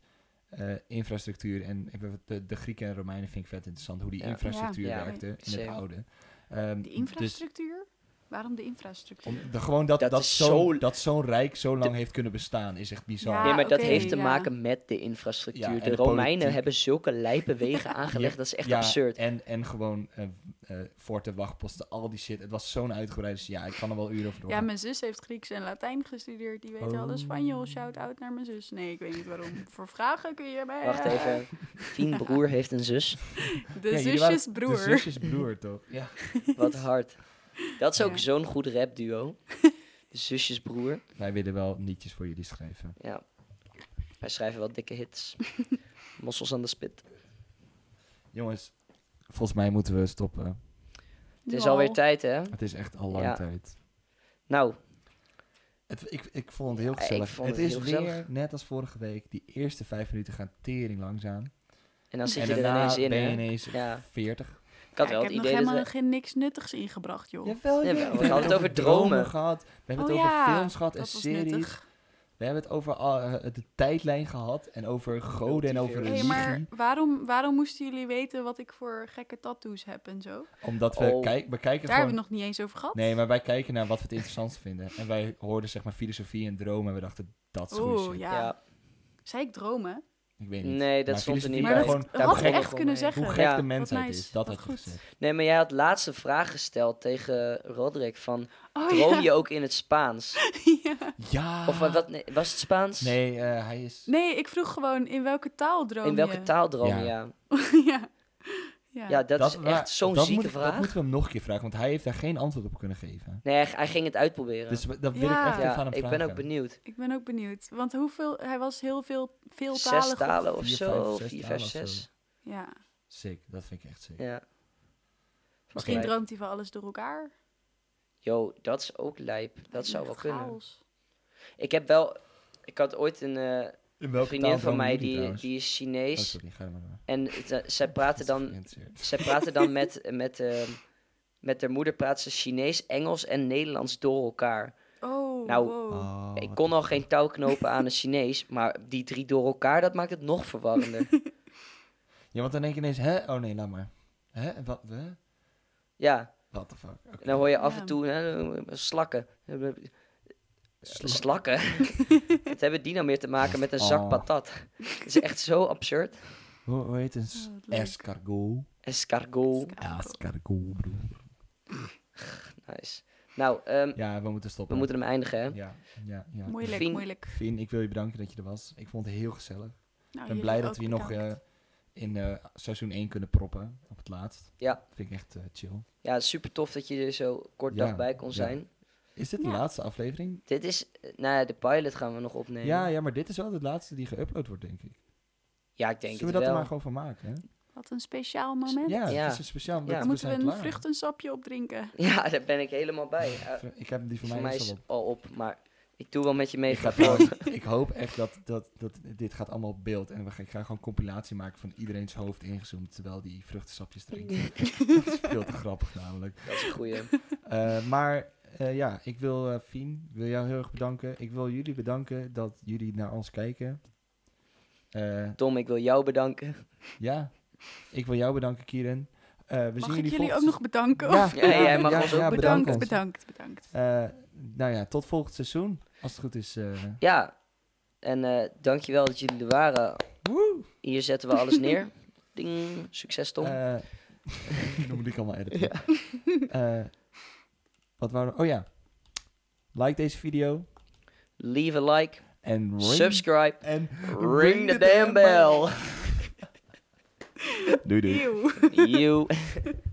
A: eh, infrastructuur. En ik weet wat, de, de Grieken en Romeinen vind ik vet interessant hoe die
B: Ja.
A: infrastructuur
B: Ja. Ja.
A: werkte in
B: Zeker.
A: het oude. Ehm,
C: De
A: dus
C: infrastructuur? Waarom de infrastructuur?
A: om, de, gewoon dat, dat,
B: Dat is
A: zo'n
B: zo-
A: dat zo'n rijk zo lang heeft kunnen bestaan is echt bizar.
C: Ja,
B: nee, maar dat
C: Ah, oké,
B: heeft te
C: ja.
B: maken met de infrastructuur.
A: Ja, en
B: de,
A: de
B: Romeinen
A: politiek.
B: hebben zulke lijpe wegen aangelegd. Dat is echt
A: Ja,
B: absurd.
A: En, en gewoon eh eh, forten, wachtposten, al die shit. Het was zo'n uitgebreide... Ja, ik kan er wel uren over
C: Ja,
A: doorgaan.
C: mijn zus heeft Grieks en Latijn gestudeerd. Die weet wel de
A: Oh.
C: Spanjool. Shout-out naar mijn zus. Nee, ik weet niet waarom. Voor vragen kun je mij...
B: Wacht even. Fien broer heeft een zus.
C: De
A: Ja, jullie waren-
C: zusjesbroer.
A: De zusjesbroer, toch? Ja.
B: Wat hard. Dat is ook
C: Ja.
B: zo'n goed rapduo. De zusjesbroer.
A: Wij willen wel nietjes voor jullie schrijven.
B: Ja. Wij schrijven wel dikke hits. Mossels aan de spit.
A: Jongens, volgens mij moeten we stoppen.
B: Het is
C: Nou.
B: alweer tijd, hè?
A: Het is echt al lang
B: Ja.
A: tijd.
B: Nou,
A: Het, ik, ik vond het heel
B: Ja, ik
A: gezellig.
B: vond
A: het,
B: het
A: is
B: heel
A: weer,
B: gezellig.
A: net als vorige week, die eerste vijf minuten gaan tering langzaam.
B: en dan zit
A: en
B: je er
A: daarna
B: ineens in,
A: ben je
B: hè?
A: ineens
B: Ja.
A: 40.
B: Ik had
C: Ja,
B: wel het
C: ik heb nog
B: idee dat
C: helemaal
B: we...
C: geen niks nuttigs ingebracht, joh.
A: Jawel,
B: Ja, we
A: joh.
B: hadden het over dromen.
A: gehad. We hebben
C: Oh
A: het over
C: ja,
A: films gehad en
C: Dat was
A: series.
C: nuttig.
A: We hebben het over al- eh, de tijdlijn gehad. En over goden en over
B: Multiverse.
C: Hey,
A: religie.
C: maar waarom, waarom moesten jullie weten wat ik voor gekke tattoos heb en zo?
A: Omdat we,
B: Oh.
A: kijk, we kijken
C: Daar hebben
A: gewoon...
C: we het nog niet eens over gehad.
A: Nee, maar wij kijken naar wat we het interessant vinden. En wij hoorden zeg maar filosofie en dromen. En we dachten, dat is goede
C: Oeh,
A: shit.
C: ja.
B: Ja,
C: Zei ik dromen?
A: Ik weet niet.
B: nee, dat
A: Maar
B: stond er
A: filosofie
B: niet
A: was
B: bij.
A: gewoon-
C: Dat had ik
A: gek-
C: echt kunnen zeggen.
A: Hoe gek
B: Ja.
A: de mensheid
C: Wat nice.
A: is, dat
C: Wat
A: had je
C: goed.
A: gezegd.
B: Nee, maar jij had laatst een vraag gesteld tegen Roderick van...
C: Oh,
B: Droom
C: ja. Ah.
B: je ook in het Spaans?
C: Ja.
A: Ja.
B: Of eh, wat, wat- nee, was het Spaans?
A: Nee, eh, hij is...
C: Nee, ik vroeg gewoon in welke taal droom
B: In welke
C: je?
B: taal droom
A: Ja.
B: je? Ja,
C: ja. Ja.
B: ja dat, is
A: waar-
B: echt zo'n
A: dat
B: zieke
A: moet- Dat
B: vraag.
A: moeten we hem nog een keer vragen, want hij heeft daar geen antwoord op kunnen geven.
B: Nee, hij, hij ging het uitproberen.
A: Dus we- dat wil
C: Ja.
A: ik echt even
B: ja,
A: aan hem
B: ik
A: vragen.
B: ben ook benieuwd.
C: Ik ben ook benieuwd. Want hoeveel, hij was heel veel, veel
B: Zes
C: talen.
B: talen of
A: vier,
B: zo.
A: vijf, zes
B: Vier,
A: talen
B: vijf,
A: of zo.
B: zes.
C: Ja.
A: Sick, dat vind ik echt sick.
B: Ja.
C: Misschien
B: Lijp.
C: droomt hij van alles door elkaar.
B: Yo, dat is ook lijp. Dat zou wel
C: Echt
B: kunnen.
C: chaos.
B: Ik heb wel... Ik had ooit een eh,
A: In welke
B: vriendin
A: taal
B: van mij,
A: die,
B: die, die is
A: Oh,
B: Chinees.
A: sorry, ga er maar door.
B: En het, eh, zij praten
A: Dat is
B: dan,
A: geïnteresseerd.
B: zij praten dan met, met, ehm, met haar moeder praat ze Chinees, Engels en Nederlands door elkaar.
C: Oh,
B: Nou,
C: wow.
A: Oh,
B: ik
A: wat-
B: kon al geen touw knopen aan een Chinees, maar die drie door elkaar, dat maakt het nog verwarrender.
A: Ja, want dan denk ik ineens, hè? Oh nee, laat maar. Hè? Wat? Hè?
B: ja,
A: What the fuck? Oké.
B: en dan hoor je af
C: Ja.
B: en toe hè, slakken. Slakken? Wat hebben die nou meer te maken met een zak
A: Oh.
B: patat? Het is echt zo absurd.
A: Hoe, hoe heet een s-
C: Oh, wat leuk.
A: escargot?
B: Escargot.
A: Escargot, broer.
B: Nice. Nou, ehm,
A: Ja, we moeten
B: we
A: stoppen.
B: moeten hem eindigen, hè?
A: Ja, ja, ja.
C: Moeilijk,
B: Vin-
C: moeilijk.
A: Fien, ik wil je bedanken dat je er was. Ik vond het heel gezellig.
C: Nou,
A: Ik ben
C: jullie
A: blij dat
C: ook
A: we je nog
C: bedankt.
A: eh, in eh, seizoen 1 kunnen proppen op het laatst.
B: Ja.
A: Vind ik echt eh, chill.
B: Ja, super tof dat je er zo kort
A: Ja,
B: dag bij kon
A: ja.
B: zijn.
A: Is dit de
C: Ja.
A: laatste aflevering?
B: Dit is, eh, nou ja, de pilot gaan we nog opnemen.
A: Ja, ja, maar dit is wel de laatste die geüpload wordt, denk ik.
B: Ja, ik denk
A: Zullen we
B: het
A: dat er
B: wel.
A: maar gewoon van maken? Hè?
C: Wat een speciaal moment.
A: Ja,
B: Ja.
A: het is een speciaal.
B: Ja.
A: Ja.
C: Moeten we een vruchtensapje opdrinken?
B: Ja, daar ben ik helemaal bij. Eh,
A: Ik heb die
B: die
A: van
B: van mij
A: mij
B: is
A: al op.
B: al op, maar ik doe wel met je mee.
A: Ik, ga
B: gaat
A: trouwens- ik hoop echt dat, dat, dat dit gaat allemaal op beeld. En we gaan, ik ga gewoon een compilatie maken van iedereen's hoofd ingezoomd. Terwijl die vruchtensapjes drinkt. dat is veel te grappig namelijk.
B: Dat is een goeie.
A: Eh, maar eh, ja, ik wil eh, Fien, wil jou heel erg bedanken. Ik wil jullie bedanken dat jullie naar ons kijken. Eh,
B: Tom, ik wil jou bedanken.
A: ja, ik wil jou bedanken, Kieren. Eh, we
C: Mag
A: zien
C: ik
A: jullie,
C: jullie ook
A: volgend
C: nog bedanken?
A: Ja,
C: Of-
B: Ja, jij mag ons ook
A: bedank
C: bedankt,
A: ons.
C: bedankt, bedankt.
A: Eh, nou ja, tot volgend seizoen. Als het goed is. eh.
B: Ja, en eh dankjewel dat jullie er waren. Hier zetten we alles neer. Ding, succes Tom.
A: Eh, dan moet ik allemaal editen. Eh, wat waren we- Oh ja. Like deze video.
B: Leave a like,
A: En ring,
B: subscribe,
A: en
B: ring the damn bell.
A: Doei doei.
C: Eeuw.
B: you.